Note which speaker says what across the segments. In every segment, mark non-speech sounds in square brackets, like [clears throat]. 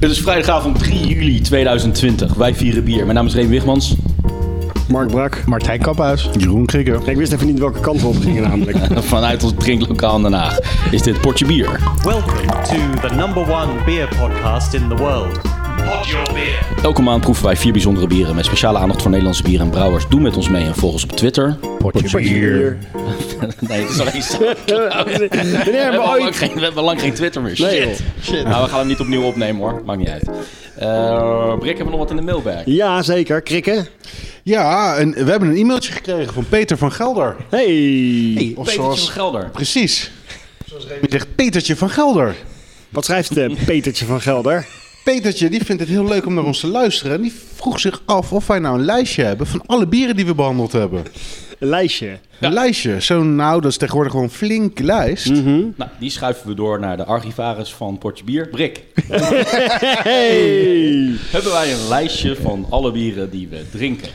Speaker 1: Het is vrijdagavond 3 juli 2020. Wij vieren bier. Mijn naam is Reen Wigmans.
Speaker 2: Mark Brak.
Speaker 3: Martijn Kaphuis.
Speaker 4: Jeroen Krikker.
Speaker 2: Ik wist even niet welke kant we op gingen namelijk.
Speaker 1: Vanuit ons drinklokaal in Den Haag is dit Potje Bier.
Speaker 5: Welcome to the number one beer podcast in the world. Pod your beer.
Speaker 1: Elke maand proeven wij vier bijzondere bieren met speciale aandacht voor Nederlandse bieren en brouwers. Doe met ons mee en volg ons op Twitter.
Speaker 3: [laughs] Potje bier.
Speaker 1: Nee, het is alleen
Speaker 2: [laughs]
Speaker 1: zo.
Speaker 2: Meneer,
Speaker 1: We
Speaker 2: hebben
Speaker 1: hebben,
Speaker 2: we
Speaker 1: al lang
Speaker 2: ooit...
Speaker 1: geen, we hebben al lang geen Twitter meer. Shit.
Speaker 2: Nee, joh.
Speaker 1: Shit. Nou, we gaan hem niet opnieuw opnemen hoor. Maakt niet uit. Eh Brik, hebben we nog wat in de mailbag?
Speaker 2: Ja, zeker. Krikken.
Speaker 4: Ja, en we hebben een e-mailtje gekregen van Peter van Gelder.
Speaker 2: Hey.
Speaker 4: Of
Speaker 1: Petertje
Speaker 4: zoals-
Speaker 1: van Gelder.
Speaker 4: Precies. Zoals Remy zegt, Petertje van Gelder.
Speaker 2: Wat schrijft eh, Petertje van Gelder?
Speaker 4: Petertje, die vindt het heel leuk om naar ons te luisteren. En die vroeg zich af of wij nou een lijstje hebben van alle bieren die we behandeld hebben.
Speaker 2: Een
Speaker 3: [laughs]
Speaker 2: lijstje.
Speaker 4: Een lijstje. Zo'n, nou, dat is tegenwoordig gewoon een flink lijst.
Speaker 2: Mhm.
Speaker 1: Nou, die schuiven we door naar de archivaris van Potje Bier. Brik,
Speaker 2: Hey.
Speaker 1: hebben wij een lijstje van alle bieren die we drinken?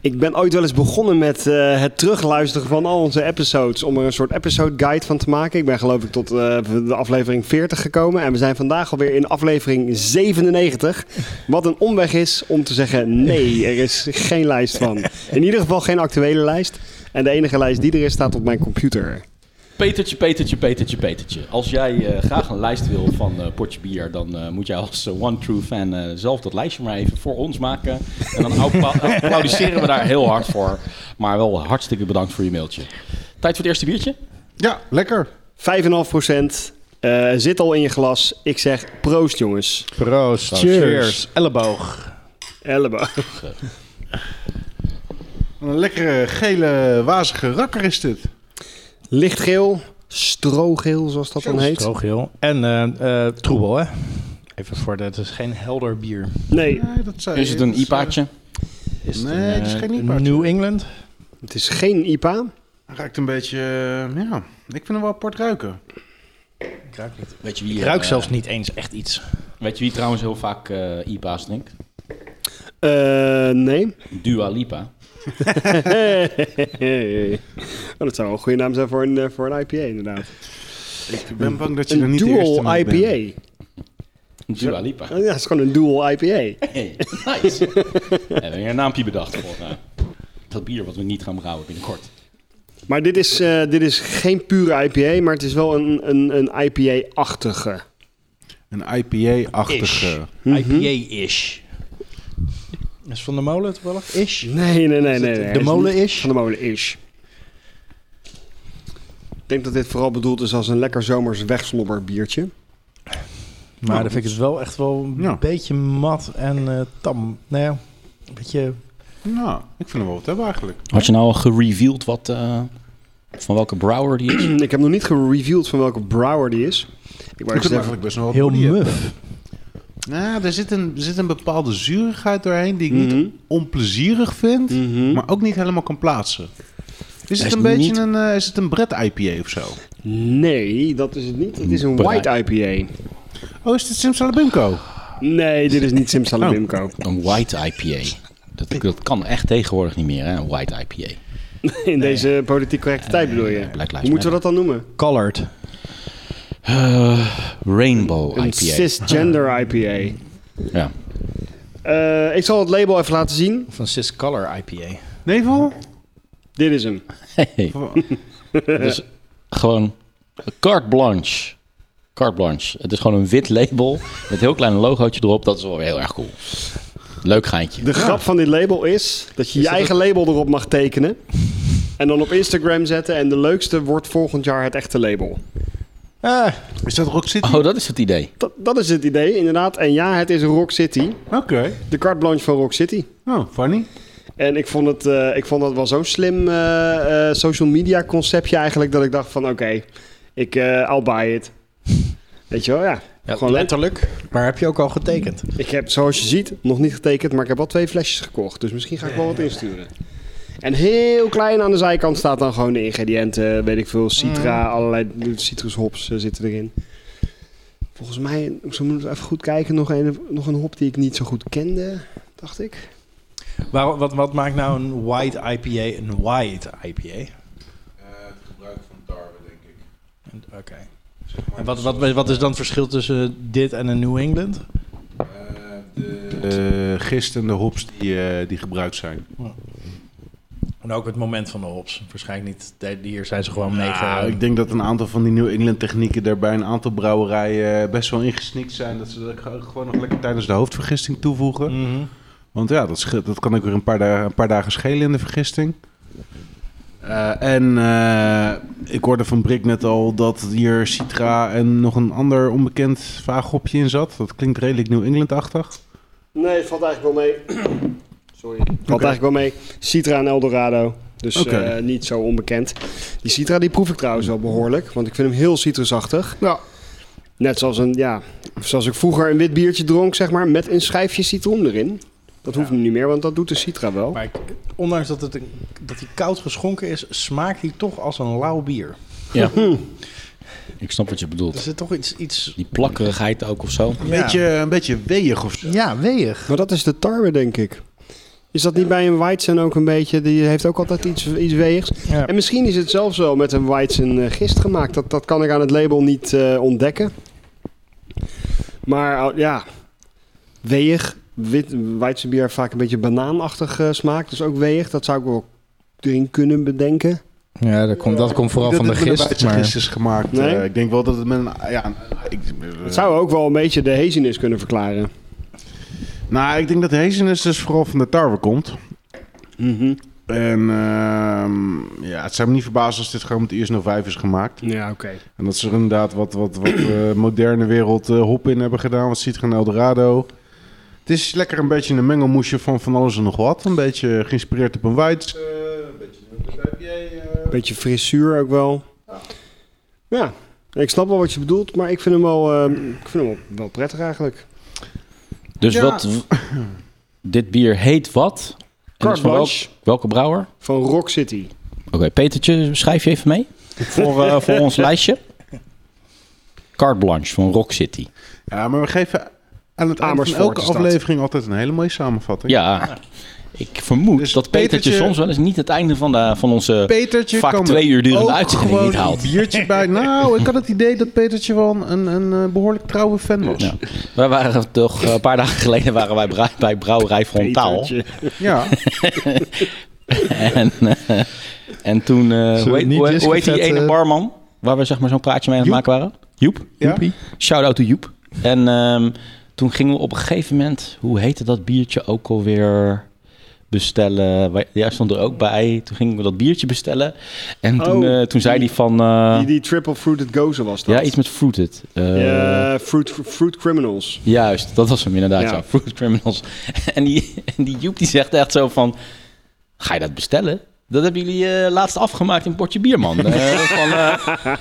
Speaker 2: Ik ben ooit wel eens begonnen met eh, het terugluisteren van al onze episodes. Om er een soort episode guide van te maken. Ik ben geloof ik tot eh, de aflevering 40 gekomen. En we zijn vandaag alweer in aflevering 97. Wat een omweg is om te zeggen nee, er is geen lijst van. In ieder geval geen actuele lijst. En de enige lijst die er is staat op mijn computer.
Speaker 1: Petertje, Petertje, Petertje, Petertje. Als jij eh, graag een lijst wil van eh, potje bier, dan eh, moet jij als eh, One True Fan eh, zelf dat lijstje maar even voor ons maken. En dan
Speaker 3: [laughs]
Speaker 1: appa- applaudisseren we daar heel hard voor. Maar wel hartstikke bedankt voor je mailtje. Tijd voor het eerste biertje?
Speaker 4: Ja, lekker.
Speaker 2: 5,5 procent. eh, zit al in je glas. Ik zeg proost, jongens.
Speaker 4: Proost.
Speaker 3: Cheers. Elleboog.
Speaker 2: Elleboog.
Speaker 4: Een lekkere gele wazige rakker is dit.
Speaker 2: Lichtgeel. Strogeel, zoals dat dan heet.
Speaker 3: Strooggeel. En eh, eh, troebel, hè? Even voor de... Het is geen helder bier.
Speaker 2: Nee,
Speaker 4: Nee, dat zei
Speaker 1: Is het een
Speaker 4: dat is, eh,
Speaker 1: IPA'tje?
Speaker 3: Is
Speaker 4: Nee,
Speaker 3: een,
Speaker 4: het is
Speaker 3: eh,
Speaker 4: geen
Speaker 3: een
Speaker 4: IPA'tje.
Speaker 3: New England.
Speaker 2: het is geen IPA.
Speaker 4: Hij ruikt een beetje, eh, ja, ik vind hem wel apart ruiken.
Speaker 3: Ik ruik, niet.
Speaker 1: Weet je wie,
Speaker 3: Ik ruik
Speaker 1: eh,
Speaker 3: zelfs niet eens echt iets.
Speaker 1: Weet je wie trouwens heel vaak eh, IPA's drinkt?
Speaker 2: Eh, nee. [laughs]
Speaker 1: Dua Lipa.
Speaker 2: Oh, dat zou wel een goede naam zijn voor een, eh, voor een IPA, inderdaad.
Speaker 4: Ik ben bang dat je er
Speaker 2: Een
Speaker 4: niet de eerste
Speaker 2: dual
Speaker 4: mee bent.
Speaker 2: IPA.
Speaker 1: Dua Lipa.
Speaker 2: Oh, Ja, het is gewoon een dual IPA.
Speaker 1: Hey, nice. We [laughs] hebben weer een naampje bedacht voor eh, dat bier wat we niet gaan brouwen binnenkort.
Speaker 2: Maar dit is, eh, dit is geen pure IPA, maar het is wel een, een, een IPA-achtige.
Speaker 4: Een IPA-achtige.
Speaker 3: Ish. IPA-ish. Is van de molen toevallig? Ish.
Speaker 2: Nee, nee, nee.
Speaker 3: Is
Speaker 2: nee,
Speaker 3: het
Speaker 2: nee.
Speaker 3: de
Speaker 2: Is
Speaker 3: molen
Speaker 2: niet
Speaker 3: is?
Speaker 2: Van de molen is. Ik denk dat dit vooral bedoeld is als een lekker zomers wegsnobberbiertje.
Speaker 3: Maar dan vind ik het wel echt wel een
Speaker 4: Ja.
Speaker 3: beetje mat en eh, tam. Nou ja, een beetje...
Speaker 4: Nou, ik vind hem wel wat hebben eigenlijk.
Speaker 1: Had je nou al gereveeld wat, eh, van welke brouwer die is?
Speaker 2: [clears throat] Ik heb nog niet gereveeld van welke brouwer die is. Ik wou
Speaker 4: Ik vind hem
Speaker 2: even
Speaker 4: eigenlijk best wel wat
Speaker 3: Heel
Speaker 4: body hebben.
Speaker 3: muf.
Speaker 4: Nou, er zit een, er zit een bepaalde zurigheid doorheen die ik
Speaker 2: Mhm.
Speaker 4: niet onplezierig vind,
Speaker 2: Mhm.
Speaker 4: maar ook niet helemaal kan plaatsen. Is
Speaker 1: Hij
Speaker 4: het
Speaker 1: is
Speaker 4: een beetje
Speaker 1: niet-
Speaker 4: een, eh, is het een Brett IPA of zo?
Speaker 2: Nee, dat is het niet. Het is een
Speaker 1: Brei.
Speaker 2: white IPA.
Speaker 4: Oh, is dit Simsalabimco?
Speaker 2: Nee, dit is niet Simsalabimco.
Speaker 1: Een white IPA. Dat, dat kan echt tegenwoordig niet meer, hè? Een white IPA.
Speaker 2: In deze politiek correcte tijd bedoel je.
Speaker 1: Black Lives
Speaker 2: Hoe moeten we dat dan noemen?
Speaker 3: Colored.
Speaker 1: Eh, Rainbow
Speaker 2: Een
Speaker 1: IPA.
Speaker 2: cisgender IPA.
Speaker 1: Ja.
Speaker 2: Eh, ik zal het label even laten zien.
Speaker 3: Of een cis color IPA.
Speaker 4: Nevel?
Speaker 2: Dit is hem.
Speaker 1: Hey, dus gewoon carte blanche. Carte blanche. Het is gewoon een wit label met een heel klein logootje erop. Dat is wel weer heel erg cool. Leuk geintje.
Speaker 2: De grap van dit label is dat je je eigen label erop mag tekenen. En dan op Instagram zetten. En de leukste wordt volgend jaar het echte label.
Speaker 3: Ah,
Speaker 4: Is dat Rock City?
Speaker 1: Oh, dat is het idee.
Speaker 2: Dat, dat is het idee, inderdaad. En ja, het is Rock City.
Speaker 4: Oké.
Speaker 2: De carte blanche van Rock City.
Speaker 4: Oh, funny.
Speaker 2: En ik vond, het, eh, ik vond dat wel zo'n slim eh, eh, social media conceptje eigenlijk. Dat ik dacht van oké, ik eh I'll buy it. Weet je wel, ja. Gewoon leuk.
Speaker 3: letterlijk. Maar heb je ook al getekend?
Speaker 2: Ik heb, zoals je ziet, nog niet getekend, maar ik heb al twee flesjes gekocht. Dus misschien ga ik wel wat insturen. En heel klein aan de zijkant staat dan gewoon de ingrediënten. Weet ik veel, citra, allerlei citrushops eh, zitten erin. Volgens mij, zo moet ik even goed kijken, nog een, nog een hop die ik niet zo goed kende, dacht ik.
Speaker 3: Waar, wat, wat maakt nou een white IPA een white IPA?
Speaker 4: het gebruik van tarwe, denk ik.
Speaker 3: En- Oké. En wat, wat, wat is dan het verschil tussen dit en een New England?
Speaker 4: de gist en de hops die, eh, die gebruikt zijn.
Speaker 3: En ook het moment van de hops. Waarschijnlijk niet. de- Hier zijn ze gewoon mee.
Speaker 4: Nou, ik denk dat een aantal van die New England technieken daarbij een aantal brouwerijen eh, best wel ingesnikt zijn. Dat ze dat ge- gewoon nog lekker tijdens de hoofdvergisting toevoegen.
Speaker 6: Mhm.
Speaker 4: Want ja, dat, scheelt- dat kan ook weer een paar, dagen, een paar dagen schelen in de vergisting. Eh, en eh, ik hoorde van Brik net al dat hier Citra en nog een ander onbekend vaag hopje in zat. Dat klinkt redelijk New England-achtig.
Speaker 2: Nee, het valt eigenlijk wel mee. [clears throat] Sorry. Het valt eigenlijk wel mee. Citra en Eldorado. Dus
Speaker 4: Oké.
Speaker 2: eh, niet zo onbekend. Die Citra die proef ik trouwens wel behoorlijk. Want ik vind hem heel citrusachtig.
Speaker 4: Ja.
Speaker 2: Net zoals, een, ja, zoals ik vroeger een wit biertje dronk, zeg maar. Met een schijfje citroen erin. Dat hoeft nu niet meer, want dat doet de Citra wel.
Speaker 3: Maar ik- ondanks dat, het, een- dat hij koud geschonken is, smaakt hij toch als een lauw bier.
Speaker 1: Ja. Ik snap wat je
Speaker 3: Er
Speaker 1: bedoelt.
Speaker 3: zit toch iets... iets
Speaker 1: Die plakkerigheid ook of zo.
Speaker 4: Een, beetje, een beetje weeg of zo.
Speaker 3: Ja, weeg.
Speaker 2: Maar dat is de tarwe, denk ik. Is dat niet bij een Weizen ook een beetje? Die heeft ook altijd iets, iets weegs.
Speaker 3: Ja.
Speaker 2: En misschien is het zelfs wel met een Weizen eh, gist gemaakt. Dat, dat kan ik aan het label niet eh, ontdekken. Maar eh, ja, weeg. Wit, Weizenbier heeft vaak een beetje banaanachtig eh, smaak. Dus ook weeg. Dat zou ik wel erin kunnen bedenken.
Speaker 6: Ja, dat komt, dat komt vooral
Speaker 4: Ik
Speaker 6: van
Speaker 4: denk
Speaker 6: de
Speaker 4: dat het met een
Speaker 6: gist.
Speaker 4: Duitse
Speaker 6: Maar
Speaker 4: gist is gemaakt.
Speaker 2: Nee?
Speaker 4: Eh, ik denk wel dat het met een... Ja, een- ik,
Speaker 2: Het zou ook wel een beetje de haziness kunnen verklaren.
Speaker 4: Nou, ik denk dat de haziness dus vooral van de tarwe komt. Mhm. En ehm, ja, het zou me niet verbazen als dit gewoon met ISO 5 is gemaakt.
Speaker 2: Ja, oké.
Speaker 4: En dat ze er inderdaad wat, wat, wat [clears throat] eh, moderne wereld eh, hop in hebben gedaan. Wat ziet gaan Eldorado. Het is lekker een beetje een mengelmoesje van van alles en nog wat. Een beetje geïnspireerd op een white. Eh, een beetje eh.
Speaker 2: Beetje frisuur ook wel. Ja, ik snap wel wat je bedoelt, maar ik vind hem wel, eh, ik vind hem wel, wel prettig eigenlijk.
Speaker 1: Dus
Speaker 4: Ja.
Speaker 1: wat...
Speaker 4: [clears throat]
Speaker 1: Dit bier heet wat? En is
Speaker 2: Carte
Speaker 1: van welk-
Speaker 2: Blanche
Speaker 1: welke brouwer?
Speaker 2: van Rock City.
Speaker 1: Oké, Petertje, schrijf je even mee voor,
Speaker 4: [laughs]
Speaker 1: eh, voor ons lijstje. Carte Blanche van Rock City.
Speaker 4: Ja, maar we geven aan het einde van
Speaker 2: Amersfoort
Speaker 4: elke
Speaker 2: is dat.
Speaker 4: aflevering altijd een hele mooie samenvatting.
Speaker 1: Ja, ik vermoed
Speaker 4: Dus
Speaker 1: dat Petertje,
Speaker 4: Petertje-
Speaker 1: soms wel eens niet het einde van, de, van onze...
Speaker 4: Petertje
Speaker 1: Vaak
Speaker 4: kan
Speaker 1: twee
Speaker 4: er
Speaker 1: uur durende
Speaker 4: ook
Speaker 1: uitzending
Speaker 4: gewoon
Speaker 1: niet haalt.
Speaker 4: een
Speaker 1: [laughs]
Speaker 4: biertje bij. Nou, ik had het idee dat Petertje wel een, een eh, behoorlijk trouwe fan was.
Speaker 1: Ja. Wij waren toch, eh, een paar dagen geleden waren wij bra- bij Brouwerij Frontaal.
Speaker 2: Petertje.
Speaker 4: Ja. [laughs]
Speaker 1: En, eh, en toen, eh, hoe, heet,
Speaker 6: niet
Speaker 1: hoe, heet- hoe heet die
Speaker 6: discovet,
Speaker 1: ene
Speaker 6: eh,
Speaker 1: barman waar we zeg maar zo'n praatje mee aan het
Speaker 4: Joep?
Speaker 1: maken waren? Joep.
Speaker 4: Ja.
Speaker 1: Shout-out to Joep. En ehm, toen gingen we op een gegeven moment, hoe heette dat biertje ook alweer bestellen? Wij- Jij stond er ook bij. Toen gingen we dat biertje bestellen. En toen,
Speaker 2: Oh,
Speaker 1: eh, toen zei
Speaker 2: die-
Speaker 1: hij van, eh,
Speaker 2: Die, die triple fruited gozer was dat.
Speaker 1: ja iets met fruited. Eh,
Speaker 2: Ja, fruit, fruit criminals.
Speaker 1: Juist, dat was hem inderdaad, ja.
Speaker 2: Ja.
Speaker 1: Fruit Criminals. [laughs] En die, en die Joep die zegt echt zo van... Ga je dat bestellen? Dat hebben jullie eh, laatst afgemaakt in een potje bier, man. Eh, van, eh,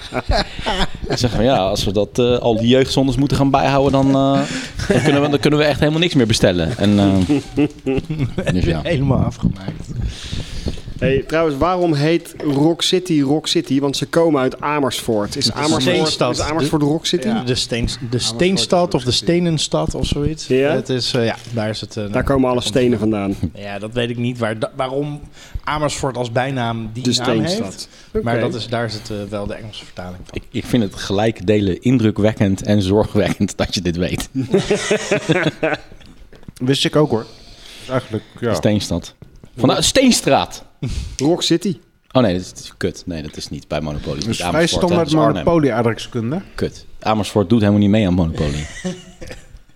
Speaker 1: ik zeg van ja, als we dat eh, al die jeugdzondes moeten gaan bijhouden... Dan, eh, dan, kunnen we, dan kunnen we echt helemaal niks meer bestellen. En, eh, dus ja.
Speaker 3: [laughs] Helemaal afgemaakt.
Speaker 2: Hey, trouwens, waarom heet Rock City Rock City? Want ze komen
Speaker 1: [laughs]
Speaker 2: uit Amersfoort. Is Amersfoort,
Speaker 3: steenstad.
Speaker 2: is Amersfoort Rock City?
Speaker 3: De, steens, de Steenstad of de Stenenstad of zoiets.
Speaker 2: Ja?
Speaker 3: Het is, eh, ja, daar is het... eh,
Speaker 2: Daar komen alle stenen vandaan.
Speaker 3: Ja, dat weet ik niet waar, da- waarom Amersfoort als bijnaam die
Speaker 2: De
Speaker 3: naam heeft.
Speaker 2: steenstad.
Speaker 3: Maar
Speaker 2: Oké.
Speaker 3: dat is, daar zit eh, wel de Engelse vertaling van.
Speaker 1: Ik, ik vind het gelijk delen indrukwekkend en zorgwekkend dat je dit weet.
Speaker 4: Wist ik ook hoor. Eigenlijk, ja.
Speaker 1: Steenstad. Vanuit Steenstraat.
Speaker 2: Rock City.
Speaker 1: Oh nee, dat is kut. Nee, dat is niet bij Monopoly. Dat
Speaker 4: Dus
Speaker 1: is
Speaker 4: vrij
Speaker 1: Amersfoort, hè. Dat
Speaker 4: standaard
Speaker 1: is Arnhem.
Speaker 4: monopolie-aardrijkskunde.
Speaker 1: Kut. Amersfoort doet helemaal niet mee aan Monopoly.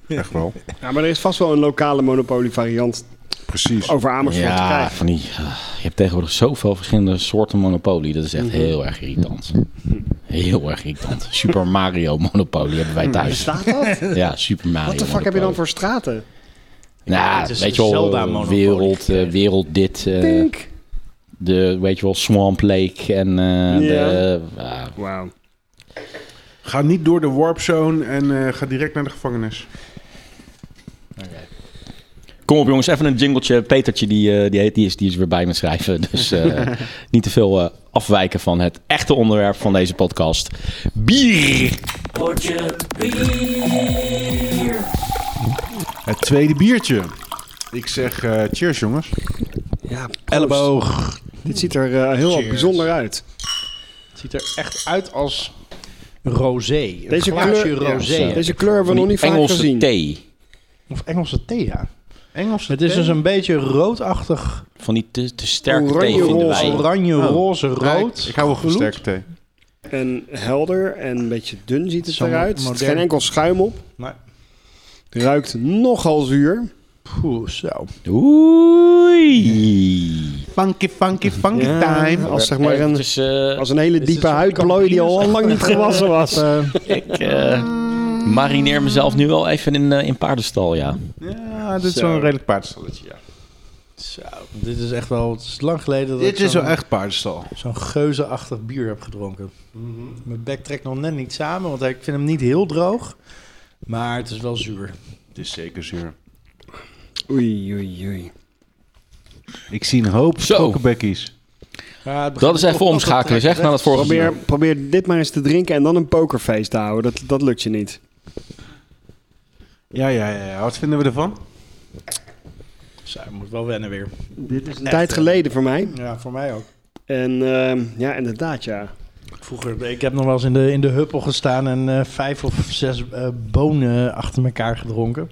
Speaker 4: Echt wel.
Speaker 2: Ja, maar er is vast wel een lokale monopolie variant
Speaker 4: Precies.
Speaker 2: over Amersfoort te
Speaker 1: ja,
Speaker 2: krijgen.
Speaker 1: van die, ah, je hebt tegenwoordig zoveel verschillende soorten Monopoly. Dat is echt
Speaker 2: Mhm.
Speaker 1: heel erg irritant. Heel erg irritant. Super Mario Monopoly hebben wij thuis.
Speaker 2: Staat dat?
Speaker 1: [laughs] Ja, Super Mario
Speaker 2: Wat de fuck heb je dan
Speaker 1: Monopoly.
Speaker 2: voor straten?
Speaker 1: Nou,
Speaker 3: Het is
Speaker 1: weet
Speaker 3: een
Speaker 1: je wel,
Speaker 3: Zelda
Speaker 1: eh,
Speaker 3: Monopoly.
Speaker 1: wereld, eh, wereld dit. eh, de, weet je wel, Swamp Lake en eh, de... ah,
Speaker 2: Wauw.
Speaker 4: Ga niet door de warpzone en eh, ga direct naar de gevangenis.
Speaker 1: Kom op jongens, even een jingletje. Petertje die, eh, die, heet- die, is, die is weer bij me schrijven. [laughs] Dus eh,
Speaker 2: [laughs]
Speaker 1: niet te veel eh, afwijken van het echte onderwerp van deze podcast. Bier!
Speaker 4: Het tweede biertje. Ik zeg eh, cheers jongens.
Speaker 2: Ja, proost.
Speaker 4: Elleboog.
Speaker 2: Dit ziet er eh, heel bijzonder uit.
Speaker 3: Het ziet er echt uit als rosé. Een
Speaker 2: Deze
Speaker 3: glaasje
Speaker 2: kleur-
Speaker 3: rosé.
Speaker 2: Deze kleur hebben we
Speaker 1: Van
Speaker 2: nog
Speaker 1: die
Speaker 2: niet vaak
Speaker 1: Engelse
Speaker 2: gezien.
Speaker 1: thee.
Speaker 3: Of Engelse thee, ja.
Speaker 4: Engels.
Speaker 3: Het is dus een beetje roodachtig,
Speaker 1: Van die te, te sterke
Speaker 2: Oranje
Speaker 1: thee vinden
Speaker 2: roze.
Speaker 1: wij.
Speaker 3: oranje,
Speaker 4: Oh.
Speaker 3: roze,
Speaker 4: Ja,
Speaker 3: rood.
Speaker 4: Ik, ik hou wel van
Speaker 3: gloed.
Speaker 4: sterke thee.
Speaker 2: En helder en een beetje dun ziet het
Speaker 3: Zo'n
Speaker 2: eruit. Er zit
Speaker 3: modern-
Speaker 2: geen enkel schuim op.
Speaker 3: Nee.
Speaker 2: Ruikt nogal zuur.
Speaker 3: Poeh, zo.
Speaker 1: Oei.
Speaker 4: Funky, funky, funky
Speaker 2: Ja,
Speaker 4: time.
Speaker 2: als, zeg maar
Speaker 1: Eh,
Speaker 2: een,
Speaker 1: het is, eh,
Speaker 2: als een hele
Speaker 3: is
Speaker 2: diepe
Speaker 3: een soort
Speaker 2: huidplooi die al
Speaker 3: campinus.
Speaker 2: lang niet gewassen
Speaker 3: [laughs]
Speaker 2: was.
Speaker 1: ik eh, marineer mezelf nu wel even in, eh, in paardenstal, ja.
Speaker 4: Ja, dit is
Speaker 2: Zo.
Speaker 4: wel een redelijk paardenstalletje, ja.
Speaker 3: Zo. Dit is echt wel, het is lang geleden dat
Speaker 4: Dit
Speaker 3: ik
Speaker 4: is wel
Speaker 3: zo'n
Speaker 4: echt paardenstal.
Speaker 3: zo'n geuzenachtig bier heb gedronken. Mijn bek trekt nog net niet samen, want ik vind hem niet heel droog. Maar het is wel zuur.
Speaker 4: Het is zeker zuur.
Speaker 2: Oei, oei, oei.
Speaker 4: Ik zie een hoop
Speaker 1: Zo.
Speaker 4: kokenbekkies.
Speaker 3: Ja, het begint
Speaker 1: Dat is even
Speaker 3: toch
Speaker 1: omschakelen,
Speaker 3: wat te
Speaker 1: zeg, na dat
Speaker 3: trekken.
Speaker 1: vorige
Speaker 2: Probeer, probeer dit maar eens te drinken en dan een pokerfeest te houden. Dat, dat lukt je niet.
Speaker 4: Ja, ja, ja, ja. Wat vinden we ervan?
Speaker 3: Zo, je moet wel wennen weer.
Speaker 2: Dit is een
Speaker 3: Echt,
Speaker 2: tijd
Speaker 3: hè?
Speaker 2: geleden voor mij.
Speaker 3: Ja, voor mij ook.
Speaker 2: En ehm, ja, inderdaad, ja.
Speaker 3: Vroeger, ik heb nog wel eens in de, in de huppel gestaan en eh, vijf of zes eh, bonen achter elkaar gedronken.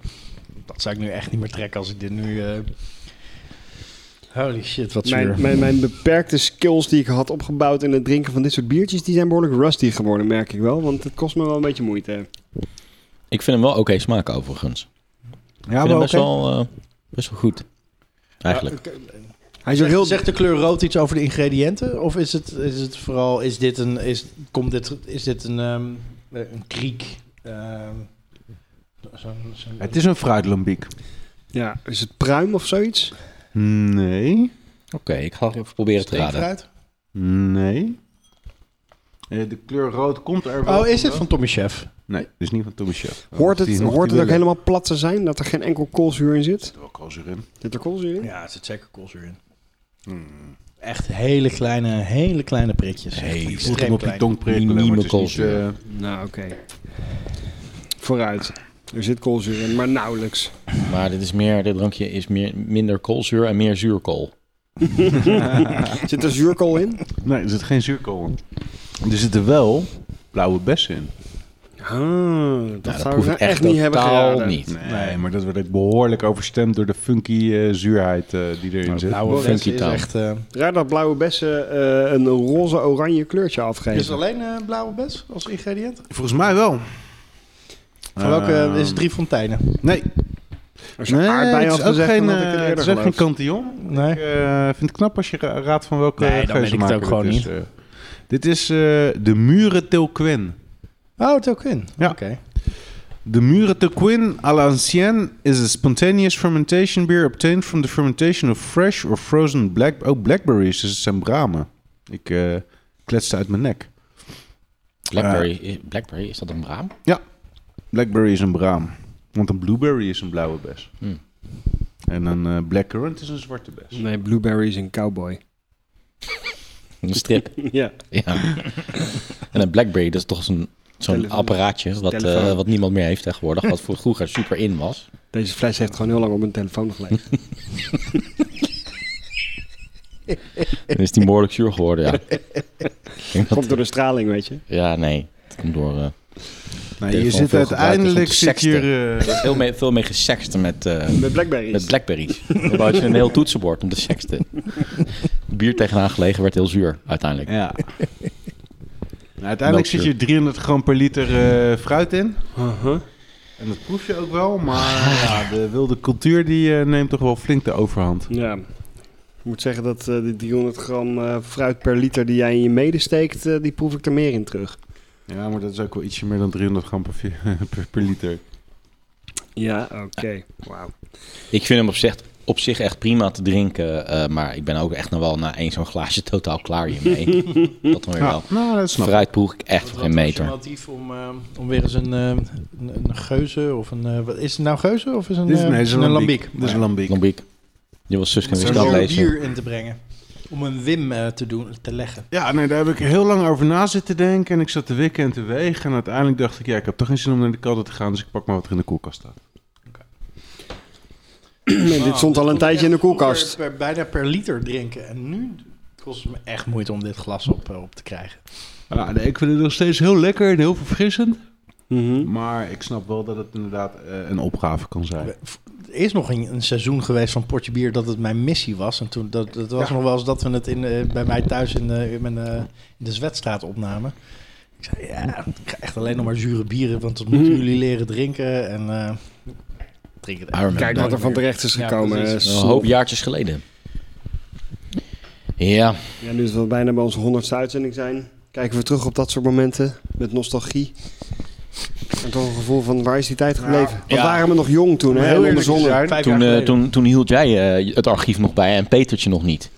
Speaker 3: Dat zou ik nu echt niet meer trekken als ik dit nu... eh, Holy shit, wat zuur.
Speaker 2: Mijn, mijn, mijn beperkte skills die ik had opgebouwd in het drinken van dit soort biertjes, die zijn behoorlijk rusty geworden, merk ik wel. Want het kost me wel een beetje moeite.
Speaker 1: Ik vind hem wel oké smaken overigens. Ik
Speaker 4: Ja,
Speaker 1: vind hem
Speaker 4: wel
Speaker 1: best,
Speaker 4: oké.
Speaker 1: wel, eh, best wel goed. Eigenlijk.
Speaker 2: Hij is ook heel...
Speaker 3: Zegt de kleur rood iets over de ingrediënten? Of is het, is het vooral, is dit een, is, komt dit, is dit een, ehm, eh, een kriek? Ehm, zo'n- zo'n-
Speaker 4: Het is een fruitlambiek.
Speaker 2: Ja, is het pruim of zoiets?
Speaker 4: Nee.
Speaker 1: Oké, ik ga even proberen te raden.
Speaker 3: steekfruit?
Speaker 4: Nee. Eh, de kleur rood komt er wel
Speaker 3: Oh, is dit
Speaker 4: vandaan.
Speaker 3: van Tommy Chef?
Speaker 4: Nee, dit is niet van Tommy Chef.
Speaker 2: Hoort het, hoort het ook helemaal plat te zijn, dat er geen enkel koolzuur in zit?
Speaker 4: helemaal... koolzuur in.
Speaker 2: Zit er koolzuur in?
Speaker 3: Ja, er zit zeker koolzuur in. Echt hele kleine, Hmm. hele kleine prikjes.
Speaker 1: Hey,
Speaker 3: Echt
Speaker 1: je
Speaker 4: Je moet hem
Speaker 3: extreem
Speaker 4: op je
Speaker 3: klein.
Speaker 4: tong prikkelen, maar
Speaker 1: Minieme
Speaker 4: het is niet...
Speaker 1: koolzuur.
Speaker 4: eh,
Speaker 2: Nou, oké. Vooruit. Er zit koolzuur in, maar nauwelijks.
Speaker 1: Maar dit, is meer, dit drankje is meer, minder koolzuur en meer zuurkool.
Speaker 2: Zit er zuurkool in?
Speaker 4: Nee, er zit geen zuurkool in. Er zitten wel blauwe bessen in.
Speaker 2: Ah, dat
Speaker 1: Nou,
Speaker 2: zou ik
Speaker 1: proef
Speaker 2: nou
Speaker 1: ik
Speaker 2: echt, niet hebben
Speaker 1: totaal
Speaker 2: geraden.
Speaker 1: niet.
Speaker 4: Nee, maar dat werd ook behoorlijk overstemd door de funky eh, zuurheid eh, die erin zit.
Speaker 3: Blauwe
Speaker 1: Funky
Speaker 3: funky is
Speaker 1: town.
Speaker 3: echt... eh,
Speaker 2: Raar dat blauwe bessen eh, een roze-oranje kleurtje afgeven.
Speaker 3: is het alleen eh, blauwe bes als ingrediënt?
Speaker 4: Volgens mij wel.
Speaker 3: Van Eh, welke is het Drie Fonteinen?
Speaker 4: Nee,
Speaker 2: Als je
Speaker 4: nee
Speaker 2: aardbeien
Speaker 4: het
Speaker 2: had
Speaker 4: is ook
Speaker 2: gezegd,
Speaker 4: geen,
Speaker 2: dan had ik het
Speaker 4: eh, het
Speaker 2: eerder
Speaker 4: is ook geen
Speaker 2: geloofd.
Speaker 4: kantillon.
Speaker 3: Nee.
Speaker 4: Ik eh, vind het knap als je ra- raadt van welke
Speaker 3: Nee, dan weet ik het
Speaker 4: geuzenmaker
Speaker 3: ook gewoon
Speaker 4: dit is, eh. dit is eh, de Muren Tilquen.
Speaker 3: Oh, het ook in.
Speaker 4: Ja.
Speaker 3: Oké.
Speaker 4: The Mure de Quin à l'ancienne is a spontaneous fermentation beer obtained from the fermentation of fresh or frozen black... Oh, blackberries, dus het zijn bramen. Ik eh, kletste uit mijn nek.
Speaker 1: Blackberry, is- Blackberry is dat een braam?
Speaker 4: Ja, blackberry is een braam. Want een blueberry is een blauwe bes.
Speaker 1: Hmm.
Speaker 4: En een eh, blackcurrant is een zwarte bes.
Speaker 2: Nee, blueberry is een cowboy.
Speaker 1: Een strip.
Speaker 2: [laughs] ja.
Speaker 1: ja. En een Blackberry, dat is toch zo'n zo'n
Speaker 2: Telefoon.
Speaker 1: apparaatje wat, eh,
Speaker 2: Telefoon.
Speaker 1: wat niemand meer heeft tegenwoordig. Wat voor vroeger super in
Speaker 2: [laughs]
Speaker 1: was.
Speaker 2: Deze fles heeft gewoon heel lang op mijn telefoon gelegen.
Speaker 1: En is die behoorlijk zuur geworden,
Speaker 2: [laughs]
Speaker 1: ja. Ik denk dat-
Speaker 2: [laughs] Komt door de straling, weet je.
Speaker 1: Ja, nee. Het komt door... eh,
Speaker 4: Nou, je
Speaker 1: Telefoon
Speaker 4: zit
Speaker 1: veel gebruikt
Speaker 4: uiteindelijk
Speaker 1: is
Speaker 4: zit
Speaker 1: om te
Speaker 4: hier... eh,
Speaker 1: er is heel mee, veel mee gesext met, eh,
Speaker 2: Met blackberries.
Speaker 1: met
Speaker 2: [laughs]
Speaker 1: Blackberries. Dan had je een heel toetsenbord om te seksten. Bier tegenaan gelegen werd heel zuur, uiteindelijk.
Speaker 4: eh, ja. [laughs] Nou, uiteindelijk zit hier 300 gram per liter eh, fruit in. En dat proef je ook wel, [laughs] maar ja, de wilde cultuur die eh, neemt toch wel flink de overhand.
Speaker 2: Ja. Ik moet zeggen dat eh die 300 gram eh, fruit per liter die jij in je mede steekt, eh, die proef ik er meer in terug.
Speaker 4: Ja, maar dat is ook wel ietsje meer dan 300 gram per, vi- [laughs] per, per liter.
Speaker 2: Ja, oké. [clears throat] Wauw.
Speaker 1: Ik vind hem op zich, op zich echt prima te drinken. eh, maar ik ben ook echt nog wel na één zo'n glaasje [laughs] totaal klaar hiermee. dat dan weer wel.
Speaker 4: nou, dat snap ik.
Speaker 1: Fruit proef ik echt
Speaker 3: Wat
Speaker 1: voor
Speaker 3: was
Speaker 1: geen
Speaker 3: je
Speaker 1: meter.
Speaker 3: motief om, eh, om weer eens een, eh, een, een geuze of een... eh, wat- is het nou geuze of is het een,
Speaker 4: Dit is,
Speaker 3: eh,
Speaker 4: nee, dit is een lambiek. Dit
Speaker 3: Maar
Speaker 4: is
Speaker 3: ja,
Speaker 4: een lambiek.
Speaker 1: Lambiek. Je was zus
Speaker 3: om
Speaker 1: en
Speaker 3: er
Speaker 1: wist
Speaker 4: Zo'n
Speaker 1: dat
Speaker 3: zo'n
Speaker 1: lezen.
Speaker 3: bier in te brengen. Om een wim eh, te, doen, te leggen.
Speaker 4: Ja, nee, daar heb ik heel lang over na zitten denken. En ik zat te wikken en te wegen. En uiteindelijk dacht ik, ja, ik heb toch geen zin om naar de kelder te gaan. Dus ik pak maar wat er in de koelkast staat.
Speaker 2: dit stond al een tijdje in de koelkast.
Speaker 3: Per, per- bijna per liter drinken. En nu kost het me echt moeite om dit glas op, eh, op te krijgen.
Speaker 4: Ja, nee, ik vind het nog steeds heel lekker en heel verfrissend.
Speaker 2: Mhm.
Speaker 4: Maar ik snap wel dat het inderdaad eh, een opgave kan zijn.
Speaker 3: Er is nog een, een seizoen geweest van Portje Bier dat het mijn missie was. En toen, dat, dat was
Speaker 4: Ja.
Speaker 3: nog wel eens dat we het in, eh, bij mij thuis in, eh, in mijn, eh, in de Zwetstraat opnamen. Ik zei, ja, ik ga echt alleen nog maar zure bieren, want dat moeten
Speaker 2: Mhm.
Speaker 3: jullie leren drinken. En eh drink het echt.
Speaker 2: Kijk wat er van
Speaker 3: meer.
Speaker 2: terecht is
Speaker 3: Ja,
Speaker 2: gekomen.
Speaker 3: precies.
Speaker 2: eh,
Speaker 3: Een
Speaker 2: snop.
Speaker 1: Een hoop jaartjes geleden. Ja,
Speaker 2: Ja, nu het wel bijna bij onze honderdste uitzending zijn, kijken we terug op dat soort momenten met nostalgie. En toch een gevoel van waar is die tijd gebleven? Wat
Speaker 1: ja.
Speaker 2: waren we nog jong toen, hè? Heel onbezonnen.
Speaker 3: Vijf jaar
Speaker 1: toen, eh,
Speaker 3: geleden.
Speaker 1: toen, toen hield jij eh, het archief nog bij en Petertje nog niet.